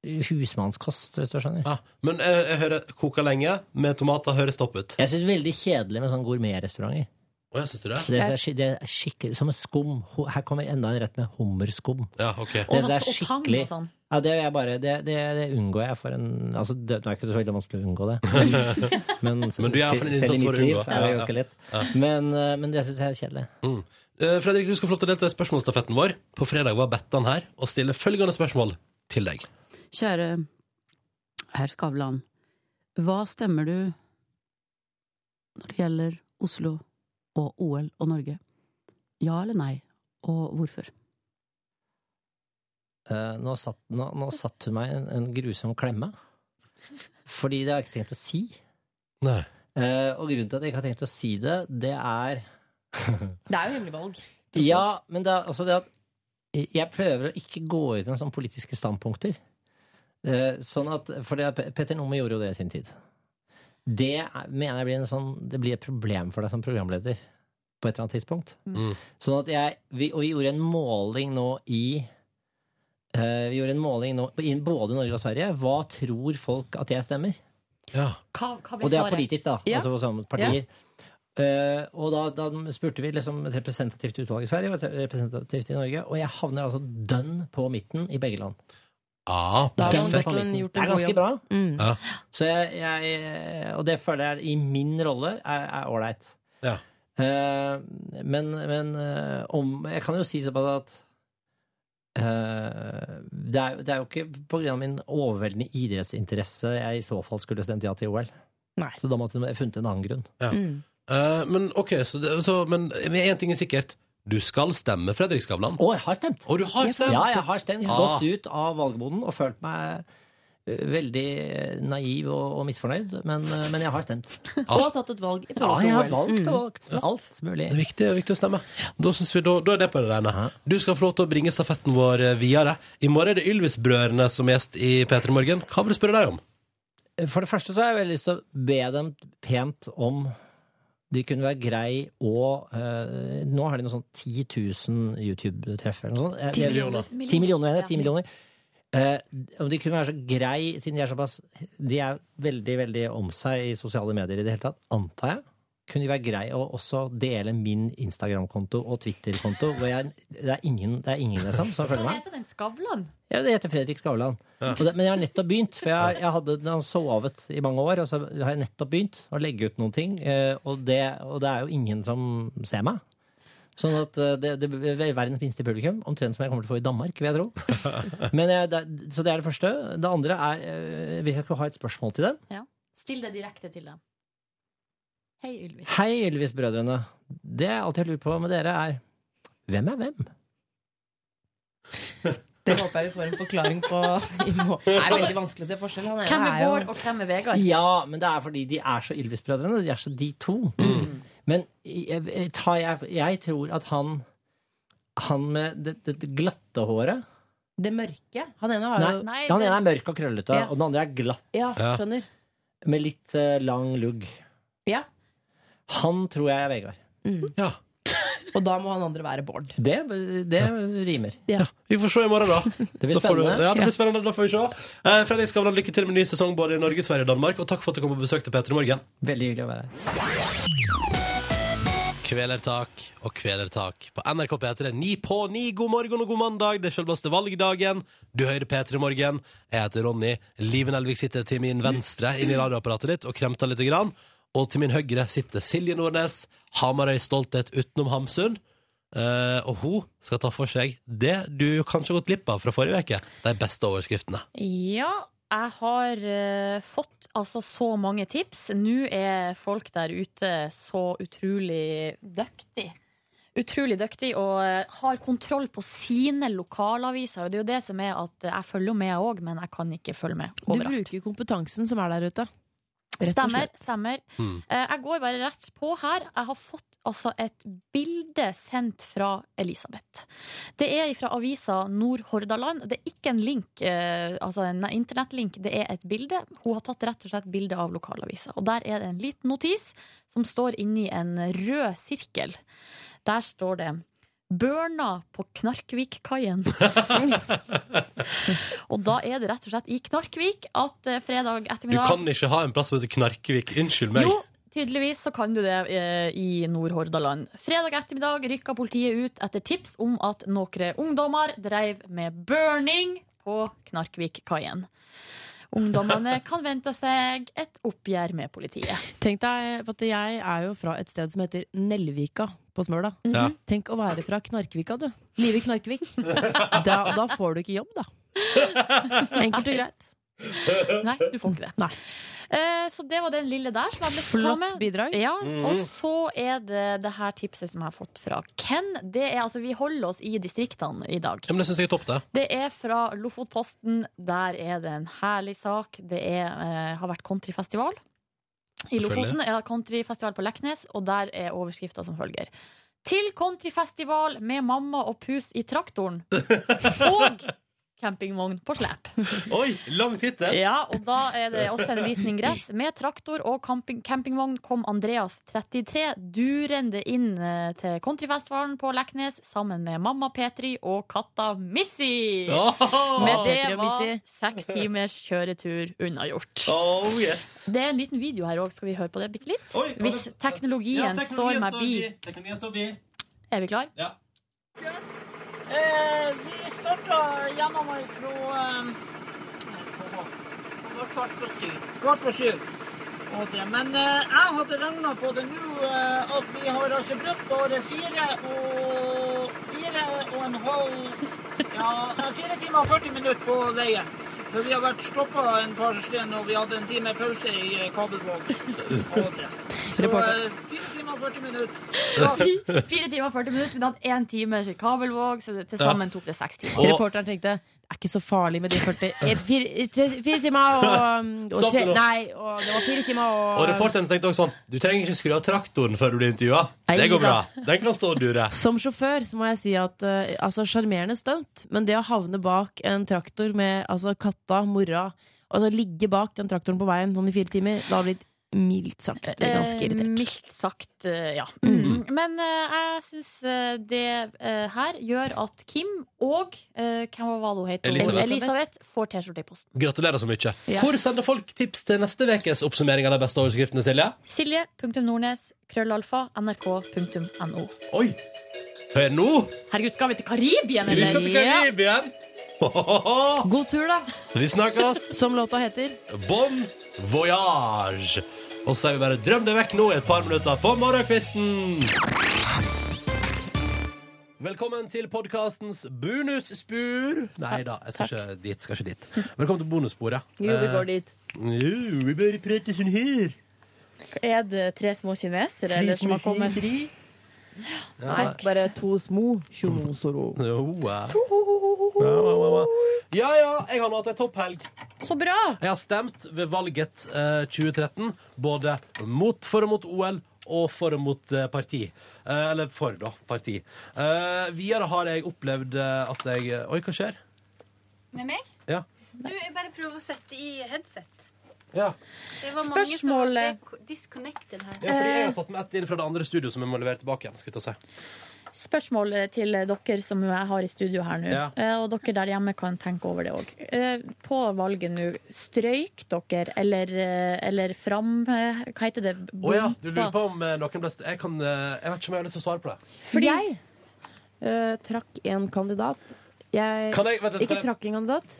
husmannskost, hvis du skjønner.
Ja, men eh, jeg, jeg hører koka lenge med tomater høres topp ut.
Jeg syns veldig kjedelig med sånne gourmetrestauranter.
Å, jeg syns du det?
Det, er så- det er skikkelig Som en skum. Ho- Her kommer enda en rett med hummerskum.
Ja, ok.
Det
Og-
er
og tang og
skikkelig
sånn.
Ja, det, gjør jeg bare, det, det, det unngår jeg for en altså, det, Nå er ikke det så veldig vanskelig å unngå det. Men,
Men du gjør i hvert fall
selv i
en innsats for
mitt
å
liv
unngå.
er det
Ja, ja.
ganske lett. Men, eh, men det syns jeg er kjedelig.
Eh, Fredrik, du skal få lov til å delta i spørsmålsstafetten vår. På fredag var Bettan her og stiller følgende spørsmål til deg.
Kjære herr Skavlan, hva stemmer du når det gjelder Oslo og OL og Norge? Ja eller nei, og hvorfor?
Eh, nå, satt, nå, nå satt hun meg i en, en grusom klemme. Fordi det har jeg ikke tenkt å si.
Nei.
Eh, og grunnen til at jeg ikke har tenkt å si det, det er
Det er jo hemmelig valg.
Ja, men det er altså det at jeg prøver å ikke gå ut med sånne politiske standpunkter. Eh, Sånn at, for det, at Petter Numme gjorde jo det i sin tid. Det er- mener jeg blir, en sånn, det blir et problem for deg som programleder på et eller annet tidspunkt.
Mm.
Sånn at jeg, vi, og vi gjorde en måling nå i eh, Vi gjorde en måling nå i både Norge og Sverige. Hva tror folk at jeg stemmer?
Ja.
Hva, hva
Og
blir
det er
svaret?
politisk, da.
Ja.
Altså for samme partier. Eh, og da, da spurte vi liksom et representativt utvalg i Sverige og et representativt i Norge, og jeg havner altså dønn på midten i begge land.
Ah,
Da har
Dønn
perfekt.
man vært
på
en-
midten.
gjort
Det
en
er
god
ganske
jobb.
bra.
Mm.
Ja.
Så jeg, jeg, og det føler jeg i min rolle er er ålreit.
Ja.
Eh, men men eh, om Jeg kan jo si såpass at eh, det, er, jo- det er jo ikke på grunn av min overveldende idrettsinteresse jeg i så fall skulle stemt ja til OL.
Nei.
Så da måtte jeg funnet en annen grunn.
Mm.
Eh, men ok, så, det, så Men én ting er sikkert. Du skal stemme, Fredrik Skavlan.
Å, jeg har stemt!
Og du har stemt!
Ja, jeg har stemt.
Ja.
Gått ut av valgboden og følt meg eh, veldig naiv og, og misfornøyd, men, eh, men jeg har stemt.
Og har tatt et valg. i forhold
Ja,
til
jeg har
OL.
valgt og
Mm.
valgt. Alt mulig.
Det er viktig, det er viktig å stemme. Da, synes vi, da, da er det på det rene.
Ja.
Du skal få lov til å bringe stafetten vår eh, videre. I morgen er det Ylvis-brødrene som er gjest i P3 Morgen. Hva vil du spørre deg om?
For det første så har jeg veldig lyst til å be dem pent om de kunne være grei og eh, Nå har de noe sånn 10 000 YouTube-treff eller noe sånt. Jeg-
10
jeg-
millioner.
10 millioner, mener jeg. 10
Ja.
millioner. Eh, om de kunne være så grei, siden de er såpass De er veldig veldig om seg i sosiale medier i det hele tatt, antar jeg. Kunne de være grei å også dele min Instagram-konto og Twitter-konto? hvor jeg- Det er ingen, det er ingen liksom, som følger
Hva
meg.
heter den? Skavlan?
Ja, det heter Fredrik Skavlan. Og det, men jeg har nettopp begynt, for jeg, jeg hadde den har sovet i mange år. Og så har jeg nettopp begynt å legge ut noen ting, eh, og det, og det er jo ingen som ser meg. Sånn at eh, det, det er verdens minste publikum, omtrent som jeg kommer til å få i Danmark, vil jeg tro. Men jeg, det, er- så det er det første. Det andre er, eh, hvis jeg skulle ha et spørsmål til dem
Still det direkte til dem. Hei, Ylvis.
Hei, Ylvis-brødrene. Det jeg alltid har lurt på med dere, er hvem er hvem?
Det håper jeg vi får en forklaring på i morgen. Det er veldig vanskelig å se forskjell. Han ene
Hvem er
jo-
Bård, og hvem er Vegard?
Ja, men det er fordi de er så Ylvis-brødrene. De er så de to.
Mm.
Men jeg, jeg, tar- jeg, jeg tror at han Han med det, det, det glatte håret
Det mørke. Han ene har
Nei,
jo
Nei,
Han
det-
ene er mørk og krøllete,
Ja.
og den andre er glatt
Ja,
Ja.
skjønner.
med litt eh, lang lugg.
Ja.
Han tror jeg er Vegard.
Ja.
Og da må han andre være Bård.
Det, det rimer.
Vi får se i morgen, da.
Det blir
da får du,
spennende.
ja, det blir spennende. Da får vi se. Eh, Fredrik Skavlan, lykke til med ny sesong både i Norge, Sverige og Danmark. Og takk for at du kom på besøk til P3 Morgen.
Veldig hyggelig å være her.
Kvelertak og kvelertak på NRK P3. Ni på ni, god morgen og god mandag. Det er selveste valgdagen. Du hører P3 Morgen. Jeg heter Ronny. Liven Elvik sitter til min venstre inni radioapparatet ditt og kremter lite grann. Og til min høyre sitter Silje Nordnes, Hamarøy Stolthet utenom Hamsun. Eh, og hun skal ta for seg det du kanskje har gått glipp av fra forrige uke. De beste overskriftene.
Ja, jeg har eh, fått altså så mange tips. Nå er folk der ute så utrolig dyktig. Utrolig dyktig og eh, har kontroll på sine lokalaviser. Og Det er jo det som er at jeg følger jo med, jeg òg, men jeg kan ikke følge med
Du
overalt.
bruker kompetansen som er der ute. Rett og
Stemmer.
slett.
stemmer
Mm.
Eh, Jeg går bare rett på her. Jeg har fått altså et bilde sendt fra Elisabeth. Det er fra avisa Nordhordaland. Det er ikke en link, eh, altså en internettlink, det er et bilde. Hun har tatt rett og slett bilde av lokalavisa. Og der er det en liten notis som står inni en rød sirkel. Der står det Børna på Knarkvikkaien. og da er det rett og slett i Knarkvik at eh, fredag
Du
ettermiddag
kan ikke ha en plass som heter Knarkevik. Unnskyld meg.
jo, tydeligvis så kan du det eh, i Nordhordaland. Fredag ettermiddag rykka politiet ut etter tips om at noen ungdommer dreiv med burning på Knarkvikkaien. Ungdommene kan vente seg et oppgjør med politiet.
Tenk deg, for at Jeg er jo fra et sted som heter Nelvika på Smøla.
Ja.
Mhm.
Tenk å være fra Knarkvika, du. Live i Knarkvik. Da, da får du ikke jobb, da. Enkelt og greit.
Nei, du får ikke det. Eh, så det var den lille der som jeg ble ta
Flott
med.
bidrag.
Ja,
Mhm.
og så er det det her tipset som jeg har fått fra Ken. Det er, altså, vi holder oss i distriktene i dag.
Ja, men det syns jeg er topp, det.
Det er fra Lofotposten. Der er det en herlig sak. Det er, eh, har vært countryfestival i
Selvfølgelig.
Lofoten. Ja, countryfestival på Leknes, og der er overskrifta som følger. Til countryfestival med mamma og pus i traktoren. Og campingvogn på slep.
Oi, lang tittel!
Ja, og da er det også en liten ingress. Med traktor og camping, campingvogn kom Andreas 33 durende inn eh, til countryfestivalen på Leknes sammen med mamma Petri og katta Missy.
Oh,
Men
Petri
det
og
var
Missy.
seks timers kjøretur unnagjort.
oh yes!
Det er en liten video her òg, skal vi høre på det bitte litt?
Oi, ja,
Hvis
det-
teknologien, står meg bi.
Teknologien står bi.
Er vi klar?
Ja.
Eh, vi starta hjemover fra eh, vårt kvart på syv. Kvart på syv. Og det. Men eh, jeg har beregna på det nå eh, at vi har altså brukt bare fire og fire og en halv Ja, eh, fire timer og 40 minutter på veien. For vi har vært stoppa en par steder, og vi hadde en time pause i eh, Kabelvåg. Og det. Så
Reporter.
eh, fire timer og 40 minutter.
Fire timer og 40 minutter, men han hadde én time til Kabelvåg, så det- til sammen tok det seks timer.
Og-
Reporteren tenkte det er ikke så farlig med de 40 eh, Fire, tre, fire timer og, og
Stopp
tre,
det nå.
Nei, og det var fire timer
Og reporteren tenkte også sånn Du trenger ikke skru av traktoren før du blir intervjua. Det går bra.
Neida.
Den kan stå og dure.
Som sjåfør så må jeg si at eh, altså sjarmerende stunt, men det å havne bak en traktor med altså, katta, mora Altså ligge bak den traktoren på veien sånn i fire timer, da har jeg blitt mildt sagt ganske
Eh,
irritert.
Mildt sagt, eh, ja.
Mm.
Men eh, jeg syns eh, det eh, her gjør at Kim og eh, Hvem var det hun het?
Elisabeth.
Elisabeth får T-skjorte i posten.
Gratulerer så mye.
Ja.
Hvor sender folk tips til neste ukes oppsummering av de beste overskriftene, Silje?
Silje.nordnes, krøllalfa, nrk.no.
Oi! Hør nå!
Herregud, Eh, skal vi til Karibien,
Vi skal
eller?
til
Ja.
Karibien! Hohoho!
God tur, da,
Vi snakkes!
som låta heter.
Bon voyage! Og så er vi bare drøm deg vekk nå i et par minutter på morgenkvisten! Velkommen til podkastens bonusspor. Nei da, jeg skal ikke dit. skal ikke dit Velkommen til bonussporet. Eh,
dit.
Jo, vi bare prater sånn her.
Er det tre små kinesere eller, som har kommet?
Nei, bare to små kjonosoro.
Jo, ja. Ja, ja, ja, ja. ja, ja, jeg har nå hatt ei topphelg.
Så bra!
Jeg har stemt ved valget eh, 2013, både mot, for og mot OL og for og mot eh, parti. Eh, eller for, da, parti. Eh, videre har jeg opplevd eh, at jeg Oi, hva skjer?
Med meg?
Ja.
Du, jeg bare prøver å sette i headset.
Ja,
Det var
Spørsmålet-
mange som ble disconnected her.
ja fordi jeg har tatt med ett inn fra det andre studioet som jeg må levere tilbake igjen. skulle jeg ta si.
Spørsmål eh, til dere som jeg har i studio her nå,
Ja.
eh, og dere der hjemme kan tenke over det òg. På valget nå, strøyk dere eller, eh, eller fram eh, Hva heter det?
Å ja, du lurer på om eh, noen ble st- jeg, kan, eh, jeg vet ikke om jeg har lyst til å svare på det.
Fordi jeg eh, trakk en kandidat. Jeg,
Kan jeg, vent, litt,
ikke
kan jeg,
trakk en kandidat.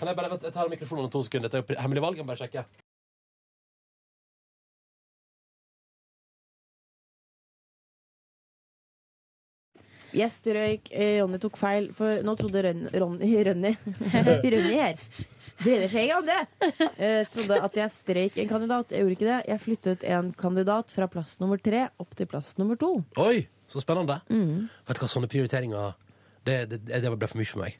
kan jeg bare vent, Jeg tar mikrofonen om to sekunder. Dette er jo pri- hemmelig valg. Jeg må bare sjekke.
Jeg strøyk, eh, Ronny tok feil, for nå trodde Ron, Ronny Ronny, Ronny her Brede Skei Grande eh, trodde at jeg strøyk en kandidat. Jeg gjorde ikke det. Jeg flyttet en kandidat fra plass nummer tre opp til plass nummer to.
Oi, så spennende.
Mm.
Vet du hva, sånne prioriteringer det, det, det ble for mye for meg.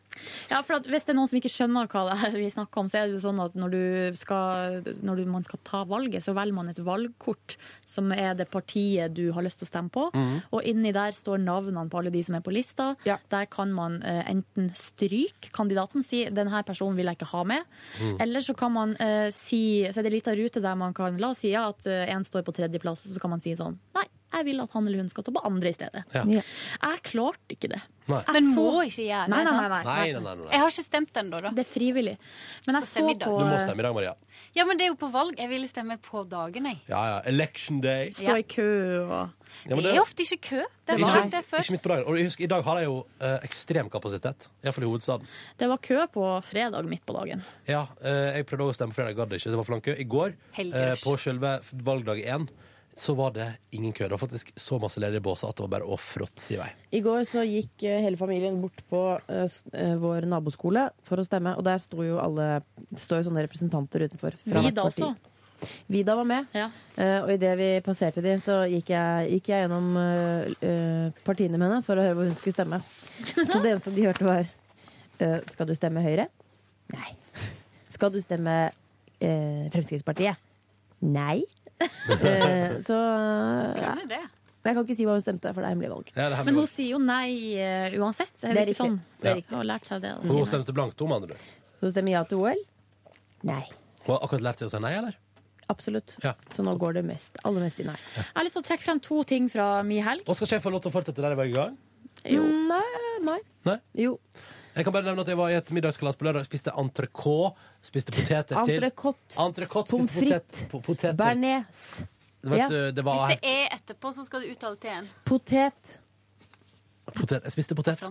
Ja, for at Hvis det er noen som ikke skjønner hva det er vi snakker om, så er det jo sånn at når, du skal, når du, man skal ta valget, så velger man et valgkort som er det partiet du har lyst til å stemme på.
Mhm.
Og inni der står navnene på alle de som er på lista.
Ja.
Der kan man eh, enten stryke kandidaten, si 'denne personen vil jeg ikke ha med',
Mhm.
eller så kan man eh, si Så er det en liten rute der man kan La oss si ja, at eh, en står på tredjeplass, og så kan man si sånn 'nei, jeg vil at han eller hun skal stå på andre i stedet'.
Ja.
Ja.
Jeg klarte ikke det.
Nei.
Jeg
Men
så-
må ikke gjøre det.
Nei, nei, nei,
sant?
nei.
Nei, nei, nei, nei.
Jeg har ikke stemt ennå, da.
Det er frivillig. Men jeg så
Skal stemme i dag.
på
Du må stemme i dag, Maria.
Ja, men det er jo på valg. Jeg ville stemme på dagen, jeg.
Ja, ja. Election day.
Stå i kø og
Ja, men
Det er ofte ikke kø. Det har
Ikke-
ikke vært det før.
Ikke midt på dagen. Og jeg husker, I dag har jeg jo eh, ekstrem kapasitet. Iallfall i hovedstaden.
Det var kø på fredag midt på dagen.
Ja, eh, Jeg prøvde også å stemme fredag, gadd ikke. Det var for lang kø. I går, eh,
Helgerush.
på selve valgdag én, så var det ingen kø. Det var faktisk så masse ledige båser at det var bare å fråtse i vei.
I går så gikk eh, hele familien bort på eh, s- eh, vår naboskole for å stemme, og der sto jo alle det står jo sånne representanter utenfor. Fra
Vi
hvert
da
parti.
også.
Vida var med. Eh, og idet vi passerte de, så gikk jeg, gikk jeg gjennom eh, eh, partiene med henne for å høre hvor hun skulle stemme. Så det eneste de hørte, var eh, Skal du stemme Høyre? Nei. Skal du stemme eh, Fremskrittspartiet? Nei. Eh, så
Hvem er det?
Men Jeg kan ikke si hva hun stemte, for det er hemmelig valg.
Men hun sier jo nei eh, uansett. Er
Det er
det ikke
riktig.
sånn?
Det er
Ja.
riktig.
Hun har lært seg det. da.
Hun stemte blankt om, andre.
Så hun stemmer ja til OL? Nei.
Hun har akkurat lært seg å si nei, eller?
Absolutt. Så nå går det mest, aller mest i nei.
Jeg har lyst til å trekke frem to ting fra mi helg.
Da skal ikke jeg få lov til å fortsette der jeg var i gang.
Mm, Nei, nei.
Nei?
Jo.
Jeg kan bare nevne at jeg var i et middagskalas på lørdag. Spiste entrecôte. Spiste poteter til.
Entrecôte.
Entrecôte.
Pommes
Spiste potet, po- poteter.
Bearnés.
Det var et, eh,
Ja.
det var
Hvis
helt,
det er etterpå, så skal du uttale til en.
Potet.
potet. Jeg spiste potet.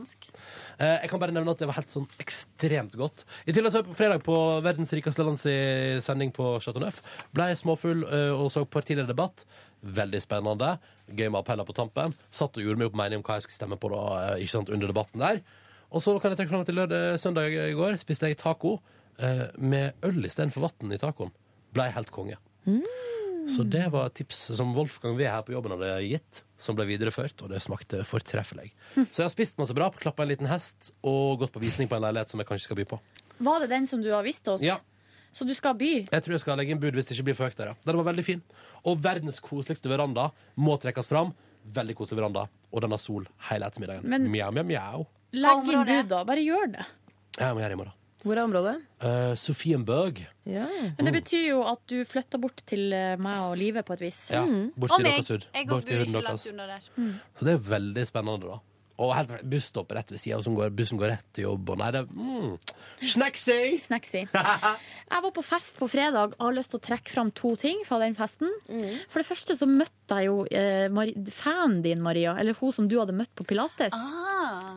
Eh, jeg kan bare nevne at det var helt sånn ekstremt godt. I tillegg så jeg på fredag på Verdens rikeste lands i sending på Chateau Neuf. Ble jeg småfull eh, og så partilederdebatt. Veldig spennende. Gøy med appeller på tampen. Satt og gjorde meg opp mening om hva jeg skulle stemme på da, eh, ikke sant, under debatten der. Og så kan jeg trekke fram til lørdag, eh, søndag i går spiste jeg taco eh, med øl istedenfor vann i tacoen. Ble jeg helt konge.
Mm.
Så det var et tips som Wolfgang V her på jobben hadde gitt, som ble videreført, og det smakte fortreffelig.
Hm.
Så jeg har spist masse bra, klappa en liten hest og gått på visning på en leilighet som jeg kanskje skal by på.
Var det den som du har vist oss?
Ja,
Så du skal by?
jeg tror jeg skal legge inn bud hvis det ikke blir for høyt der, ja. Den var veldig fin. Og verdens koseligste veranda må trekkes fram. Veldig koselig veranda, og den har sol hele ettermiddagen.
Men-
Mjau, mjau, mjau.
Legg inn bud, da. Bare gjør det.
Jeg må gjøre det i morgen.
Hvor er området?
Eh, Sofienberg.
Men det betyr jo at du flytter bort til eh, meg og livet på et vis.
Ja, bort til
Og meg.
deres hud.
Mm. Jeg
Bort til
bor
huden
ikke
deres.
langt unna der. Mm.
Så det er veldig spennende, da. Og helt busstopp rett ved sida, og så går- bussen går rett til jobb, og nei, det mm. Snacksy!
Snacksy. Jeg var på fest på fredag og har lyst til å trekke fram to ting fra den festen.
Mm.
For det første så møtte jeg jo eh, Mari fanen din, Maria. Eller hun som du hadde møtt på Pilates.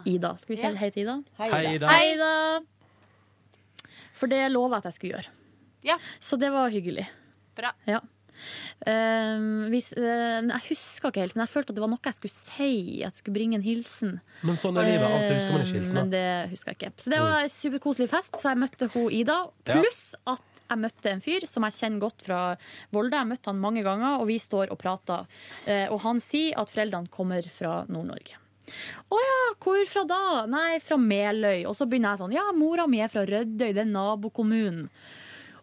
Ida. Skal vi si
Ah. Ja.
hei til Ida?
Hei, Ida. Hei, Ida.
Hei, Ida. For det lova jeg at jeg skulle gjøre.
Ja.
Så det var hyggelig.
Bra.
Ja. Ehm, hvis, eh, jeg husker ikke helt, men jeg følte at det var noe jeg skulle si. At jeg skulle bringe en hilsen.
Men sånn er livet. Av og til husker man ikke
Ehm,
hilsener.
Men det husker jeg ikke. Så det var en superkoselig fest, så jeg møtte hun Ida.
Ja.
Pluss at jeg møtte en fyr som jeg kjenner godt fra Volda. Jeg møtte han mange ganger, og vi står og prater. Eh, Og han sier at foreldrene kommer fra Nord-Norge. Å ja, hvor fra da? Nei, fra Meløy. Og så begynner jeg sånn, ja, mora mi er fra Rødøy, det er nabokommunen.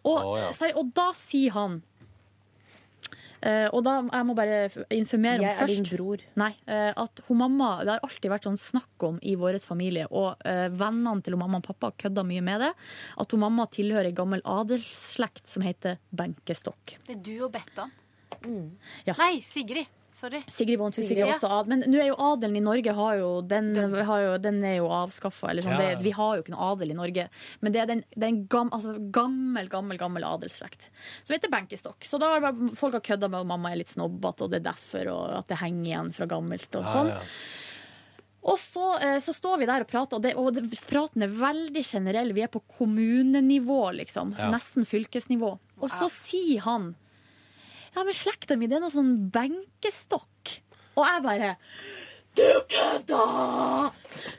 Og,
Å, ja.
seri- og da sier han eh, og da, Jeg må bare f- informere om
Jeg er
først
din bror.
Nei, eh, at hun mamma, Det har alltid vært sånn snakk om i vår familie, og eh, vennene til hun mamma og pappa kødda mye med det, at hun mamma tilhører en gammel adelsslekt som heter benkestokk.
Det er du og Bettan.
Mm. Ja.
Nei, Sigrid. Sorry.
Sigrid Bonde Tusvik er
Sigrid, ja.
også ad, men nå er jo adelen i Norge har jo, den, har jo, den er jo avskaffa. Eller sånn.
Ja, ja.
det, vi har jo ikke noe adel i Norge. Men det er den, den gam, altså, gammel, gammel gammel adelsslekt som heter benkestokk. Så da har det bare- folk har kødda med at mamma er litt snobbete, og det er derfor, og at det henger igjen fra gammelt. og sånn. Og så, eh, så står vi der og prater, og, det, og det, praten er veldig generell. Vi er på kommunenivå, liksom.
Ja.
Nesten fylkesnivå. Og så sier han Ja, men slekta mi, det er noe sånn benkestokk. Og jeg bare Du kødda!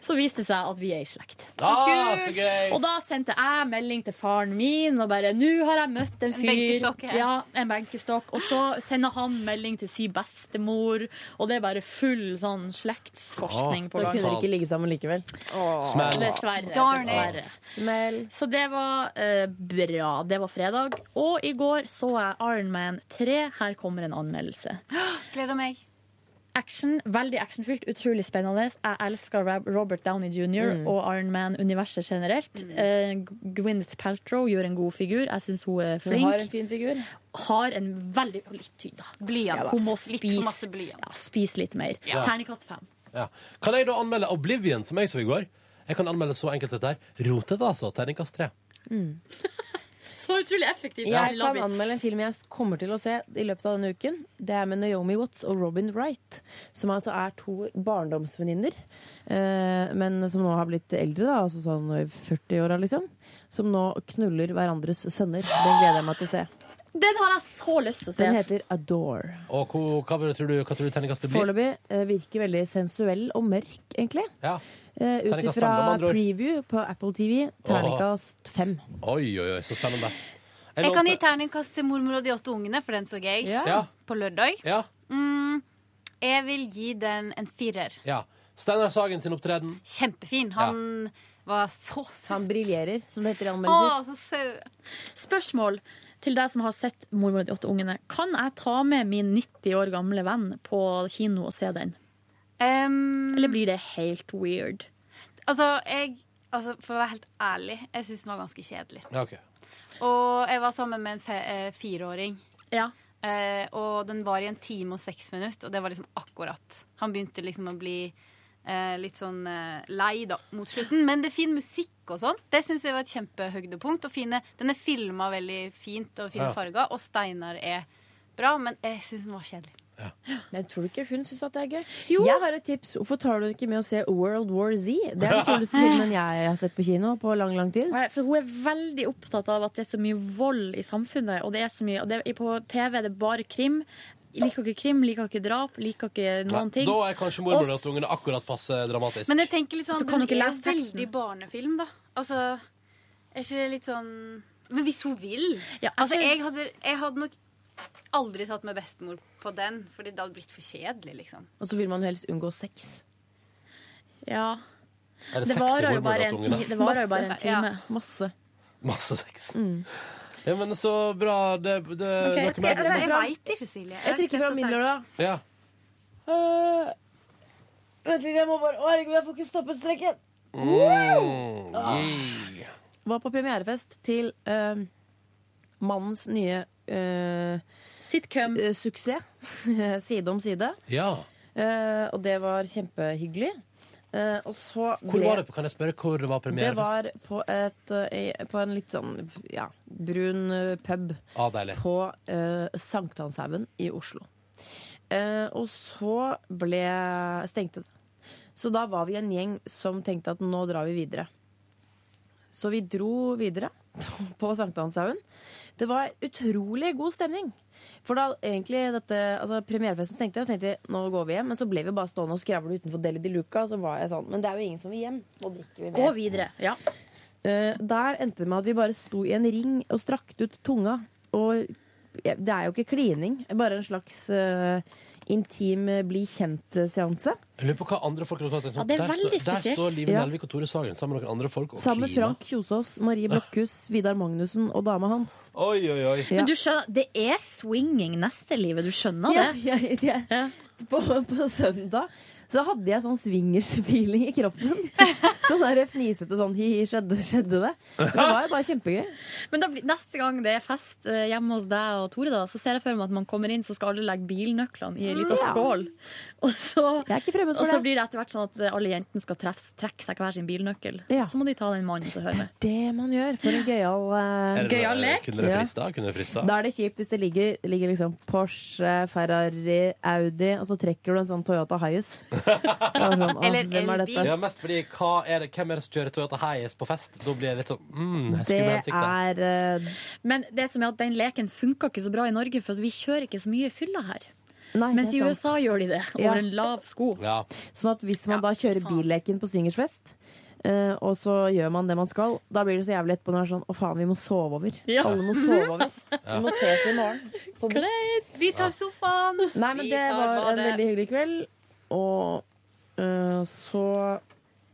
Så viste det seg at vi er i slekt.
Ah, så gøy!
Og da sendte jeg melding til faren min og bare Nå har jeg møtt en
En
fyr.
benkestokk, ja.
ja, en benkestokk. Og så sender han melding til si bestemor, og det er bare full sånn slektsforskning på
Ah, Så
gang.
kunne dere ikke ligge sammen likevel.
Smell. Dessverre.
Darn eh. it.
dessverre. Så det var eh, bra. Det var fredag. Og i går så jeg Iron Man 3. Her kommer en anmeldelse.
Gleder meg.
Action, Veldig actionfylt, utrolig spennende. Jeg elsker Rab- Robert Downey jr.
Mm.
og Iron Man-universet generelt. Eh, Gwyneth Paltrow gjør en god figur. Jeg syns hun er flink.
Hun har en fin figur.
Har en veldig og Litt tynn, da.
Blyant.
Hun må
Litt
spise-
for masse blyant.
Ja, spise litt mer.
Ja.
Terningkast fem.
Ja. Kan jeg da anmelde Oblivion, som jeg så i går? Jeg kan anmelde så enkelt dette her. Rotete, altså. Terningkast tre.
Så utrolig effektivt. I
Jeg
love
kan
it.
anmelde en film jeg kommer til å se i løpet av denne uken. Det er med Naomi Watts og Robin Wright, som altså er to barndomsvenninner. eh, Men som nå har blitt eldre, da, altså sånn i 40-åra, liksom. Som nå knuller hverandres sønner. Den gleder jeg meg til å se.
Den har jeg så lyst til å se.
Den heter Adore.
Og hva, hva tror du, hva tror du terningkastet blir?
Foreløpig eh, virker veldig sensuell og mørk, egentlig.
Ja.
Uh, Ut
Terningkast fem, da, med
ifra
andre ord.
preview på Apple TV, terningkast fem.
Oi, oi, oi, så spennende. En
Jeg
låt-
kan gi terningkast til mormor og de åtte ungene, for den så jeg
Ja.
på lørdag.
Ja.
Mm, jeg vil gi den en firer.
Ja. Steinar Sagen sin opptreden.
Kjempefin. Han var så søt.
Han briljerer, som det heter i
Å,
anmeldelser.
så søt.
Spørsmål til deg som har sett 'Mormor og de åtte ungene'. Kan jeg ta med min 90 år gamle venn på kino og se den? Eller blir det helt weird?
Altså, jeg, altså, for å være helt ærlig, jeg syns den var ganske kjedelig.
Ja, ok.
Og jeg var sammen med en fe eh, fireåring.
Ja.
Eh, og den var i en time og seks minutter, og det var liksom akkurat. Han begynte liksom å bli eh, litt sånn eh, lei da, mot slutten. Men det er fin musikk og sånn. Det syns jeg var et kjempehøydepunkt. Og fine, den er filma veldig fint og fine
Ja.
farger, og Steinar er bra, men jeg syns den var kjedelig.
Jeg tror du ikke hun syns at det er gøy. Jeg har et tips. Hvorfor tar du ikke med å se World War Z? Det er den kuleste filmen jeg har sett på kino på lang, lang tid.
Nei, For hun er veldig opptatt av at det er så mye vold i samfunnet. Og det er så mye, og det, på TV er det bare krim. Liker ikke krim, liker ikke drap, liker ikke noen ting.
Da er kanskje mormor og ungene akkurat passe dramatisk.
Men jeg tenker litt sånn,
Altså, kan du
den
ikke
er
lese teksten?
veldig barnefilm, da. Altså, er ikke det litt sånn Men hvis hun vil Altså, jeg hadde, jeg hadde nok aldri tatt med bestemor på den, fordi det hadde blitt for kjedelig, liksom.
Og så vil man jo helst unngå sex.
Ja.
Er det Det sex i varer jo Mormor bare og en Tungene? ti- det varer jo bare en time.
Masse.
Masse sex. Ja, men så bra. Det, det,
Mm.
dere
Ok, jeg-
med-
jeg-
Jeg
Fra-
veit ikke, Silje.
Jeg trekker fra min lørdag.
Ja.
Øh, Vent litt, jeg må bare Å, herregud, jeg får ikke stoppet strekken. Ah.
Mm, yeah.
Var på premierefest til øh, mannens nye øh,
Sitcom.
Su suksess. side om side.
ja.
Eh, og det var kjempehyggelig. Eh, og så
Hvor var det? på- Kan jeg spørre hvor det var
Det
premierefest?
var på, et, eh, i- på en litt sånn ja, brun eh, pub
Ah, deilig.
på eh, Sankthanshaugen i Oslo. Eh, og så ble stengte det. Så da var vi en gjeng som tenkte at nå drar vi videre. Så vi dro videre på Sankthanshaugen. Det var utrolig god stemning. For da egentlig dette, altså premierefesten tenkte jeg, tenkte vi, nå går vi hjem. Men så ble vi bare stående og skravle utenfor Deli de Luca. og Så var jeg sånn, men det er jo ingen som vil hjem. Nå drikker vi mer.
Gå videre. Ja.
Eh, der endte det med at vi bare sto i en ring og strakte ut tunga. Og ja, det er jo ikke klining, bare en slags eh, intim eh, bli kjent-seanse.
Jeg lurer på hva andre folk har tatt.
Ja, det er
sånn- der,
veldig
der
spesielt.
står Live
Ja.
Nelvik og Tore Sagen sammen med noen andre folk. Og
Sammen med
kliner.
Frank Kjosås, Marie Blokhus, Vidar Magnussen og dama hans.
Oi, oi, oi.
Men du skjønner, det er swinging neste livet. Du skjønner det?
Ja, ja, ja. På, på søndag så hadde jeg sånn swingers-feeling i kroppen. Sånn der fnisete sånn hi-hi, skjedde, skjedde det? Men Det var jo bare kjempegøy.
Men da, blir- neste gang det er fest eh, hjemme hos deg og Tore, da, så ser jeg for meg at man kommer inn, så skal alle legge bilnøklene i en liten
Ja.
skål. Og så,
Jeg er ikke fremmed
og
for
så
det.
blir det etter hvert sånn at alle jentene skal treffes, trekke seg hver sin bilnøkkel. Så må de ta den mannen som hører med.
Det man gjør for en gøyal
Er det
uh,
noe- Kunne det frista? Kunne det frista?
Da er det kjipt hvis det ligger, ligger liksom Porsche, Ferrari, Audi, og så trekker du en sånn Toyota Hiace. Eller sånn, hvem er dette?
Ja, mest fordi hva er det, hvem er det som kjører Toyota Hiace på fest? Da blir jeg litt sånn mm,
Det
skummel hensikt. der.
eh,
Men det som er at den leken funka ikke så bra i Norge, for at vi kjører ikke så mye fylla her. Mens
det
i
er sant.
USA gjør de det, over
Ja.
en lav sko.
Sånn at hvis man da kjører billeken på swingersfest, eh, og så gjør man det man skal, da blir det så jævlig etterpå når det er sånn Å, faen, vi må sove over.
Ja.
Alle må sove over. Vi må ses i morgen. Sånn.
Vi tar sofaen!
Nei, men
Vi
det
tar
var en
badet.
veldig hyggelig kveld, og eh, så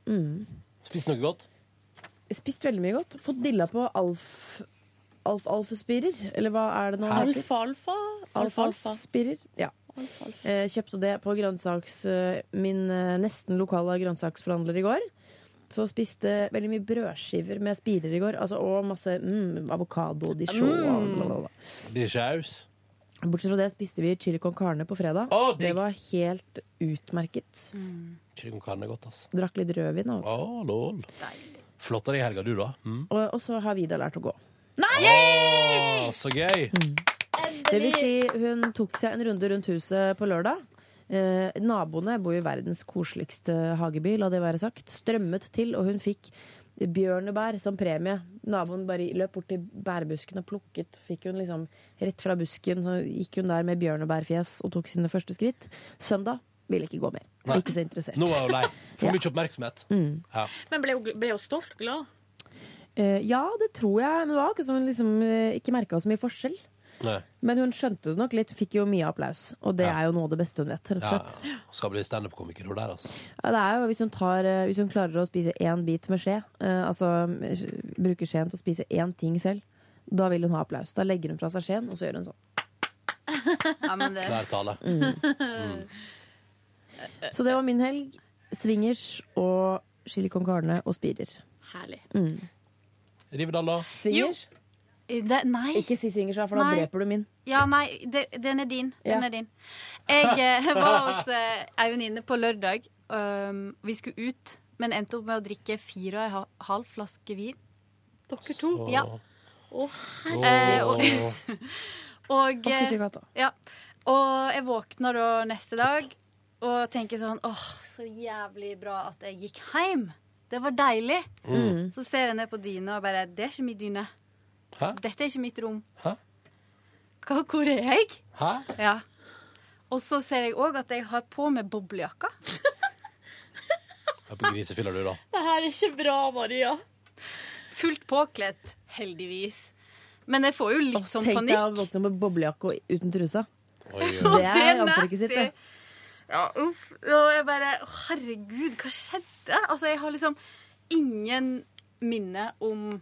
mm.
Spis noe godt.
Spist veldig mye godt. Fått dilla på alf... Alf-alf-spirer, eller hva er det nå? det heter?
Alfa-alfa. Alfa-alfa.
Alfalfaspirer. Ja. Eh, kjøpte det på grønnsaks, eh, min eh, nesten lokale grønnsaksforhandler i går. Så spiste veldig mye brødskiver med spirer i går, altså, og masse mm, avokado, dijon
Mm.
bla, bla, bla.
Dishaus.
Bortsett fra det spiste vi chili con carne på fredag.
Å, digg.
det var helt utmerket.
Chili con carne er godt, altså.
Drakk litt rødvin. Og,
Å, lol. Flotta deg i helga, du, da. Mm.
og, og så har Vidar lært å gå.
Å, så gøy.
Mm. Det vil si, hun tok seg en runde rundt huset på lørdag. Eh, naboene bor i verdens koseligste hageby, la det være sagt. Strømmet til, og hun fikk bjørnebær som premie. Naboen bare løp bort til bærbusken og plukket. Fikk hun liksom rett fra busken, så gikk hun der med bjørnebærfjes og tok sine første skritt. Søndag ville ikke gå mer.
Nei.
Ikke så interessert.
Nå er hun lei. For
Ja.
mye oppmerksomhet.
Mm.
Ja.
Men ble jo, ble jo stolt glad.
Eh, ja, det tror jeg. Men det var akkurat som hun liksom, eh, ikke merka så mye forskjell.
Nei.
Men hun skjønte det nok litt. Fikk jo mye applaus. Og det er jo noe av det beste hun vet. rett og
Ja,
slett.
ja. Skal bli standup-komiker hun der, altså.
Ja, det er jo hvis hun, tar, eh, hvis hun klarer å spise én bit med skje, eh, altså eh, bruker skjeen til å spise én ting selv, da vil hun ha applaus. Da legger hun fra seg skjeen, og så gjør hun sånn.
Ja, men det
Klar tale. Mm.
Så det var min helg. Swingers og chili con carne og spirer.
Herlig.
Mm.
Rivedal, da?
Swingers?
Det, nei.
Ikke si swingers, da, for da
Nei.
dreper du min.
Ja, nei, det, den er din. Den
Ja.
er din. Jeg eh, var hos eh, ei venninne på lørdag. Um, vi skulle ut, men endte opp med å drikke fire og en ha- halv flaske vin. Dere to? Ja.
Å,
Eh, og,
Å,
og,
fytti
eh,
katta.
ja. og jeg våkner da neste dag og tenker sånn åh, så jævlig bra at jeg gikk hjem. Det var deilig.
Mm.
Så ser jeg ned på dyna og bare Det er ikke min dyne.
Hæ?
Dette er ikke mitt rom.
Hæ?
Hva, hvor er jeg?
Hæ?
Ja. Og så ser jeg òg at jeg har på meg boblejakka.
Jeg er på grisefylla, du, da.
Det her er ikke bra, Maria.
Fullt påkledd, heldigvis. Men jeg får jo litt sånn
Tenk deg å
panikk.
våkne med boblejakke og uten trusa.
Oi, oi,
Og
Det er antrekket sitt, det.
Ja, uff. Og jeg bare å, Herregud, hva skjedde? Altså, jeg har liksom ingen minne om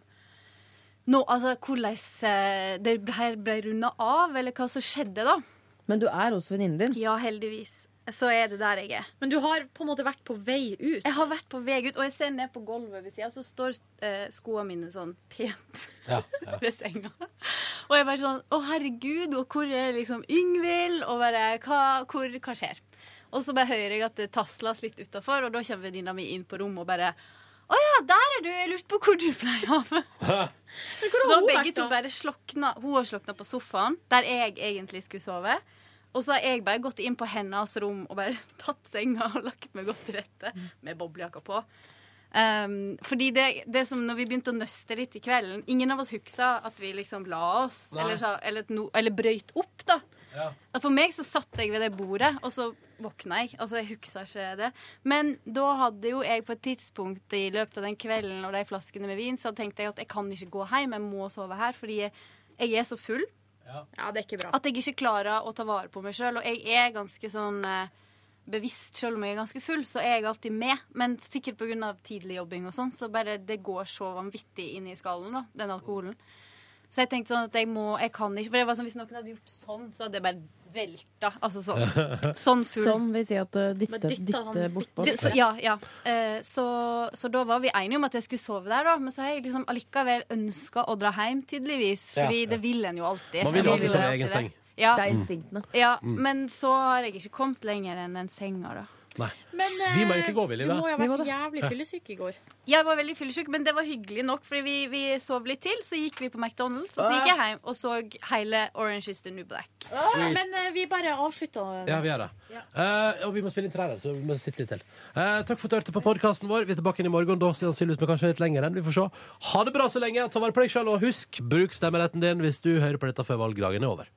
nå, altså, hvordan eh, det her ble runda av, eller hva som skjedde, da.
Men du er hos venninnen din.
Ja, heldigvis. Så er det der jeg er.
Men du har på en måte vært på vei ut.
Jeg har vært på vei ut, og jeg ser ned på gulvet ved sida, så står eh, skoene mine sånn pent
Ja,
ved senga. Og jeg bare sånn Å, herregud, og hvor er liksom Yngvild? Og bare hva, hvor, hva skjer? Og så bare hører jeg at det tasles litt utafor, og da kommer venninna mi inn på rommet og bare Å ja, der er du! Jeg lurte på hvor du pleier av.
Men hvor har
Da
hun
begge
vært,
to
da?
bare slokna. Hun har slokna på sofaen, der jeg egentlig skulle sove. Og så har jeg bare gått inn på hennes rom og bare tatt senga og lagt meg godt til rette med boblejakka på. Um, fordi det, det som når vi begynte å nøste litt i kvelden Ingen av oss huksa at vi liksom la oss,
Nei.
eller, sa- eller, at no, eller brøyt opp, da.
Ja.
At For meg så satt jeg ved det bordet, og så våkna jeg. Altså, jeg huksa ikke det. Men da hadde jo jeg på et tidspunkt i løpet av den kvelden og de flaskene med vin, så tenkte jeg at jeg kan ikke gå hjem, jeg må sove her, fordi jeg, jeg er så full
Ja, det er ikke bra.
at jeg ikke klarer å ta vare på meg sjøl. Og jeg er ganske sånn eh, bevisst, sjøl om jeg er ganske full, så er jeg alltid med. Men sikkert pga. tidlig jobbing og sånn, så bare det går så vanvittig inn i skallen, da, den alkoholen. Så jeg tenkte sånn at jeg må Jeg kan ikke. For det var sånn, hvis noen hadde gjort sånn, så hadde jeg bare velta. Altså sånn. Sånn full.
Som vil si at du
Men
dytter
dytter
dytte
han
bortpå.
Du, så, ja, ja. Eh, så, så da var vi enige om at jeg skulle sove der, da. Men så har jeg liksom allikevel ønska å dra hjem, tydeligvis.
Ja,
Fordi
ja.
det vil en jo alltid.
Man vil jo
Jeg
alltid sove i egen
det.
seng. Mm.
Ja.
Det er instinktene.
Ja, men så har jeg ikke kommet lenger enn den senga, da.
Nei.
Men
Vi må
eh,
egentlig gå, Willy,
du
da.
må jo ha
Vi må
vært
det.
jævlig fyllesyk i går.
Jeg var veldig fyllesyk, men det var hyggelig nok, fordi vi, vi sov litt til. Så gikk vi på McDonald's,
Ah.
og så gikk jeg hjem og så hele Orange is the New Black.
Sweet.
Men eh, vi bare avslutta.
Ja, vi gjør det. Eh, og vi må spille inn trærne, så vi må sitte litt til. Eh, takk for at du hørte på podkasten vår. Vi er tilbake inn i morgen, da sannsynligvis med kanskje litt lenger enn. Vi får se. Ha det bra så lenge. Ta vare på deg sjøl, og husk, bruk stemmeretten din hvis du hører på dette før valgdagen er over.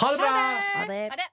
Ha det bra!
Ja, det
Er det?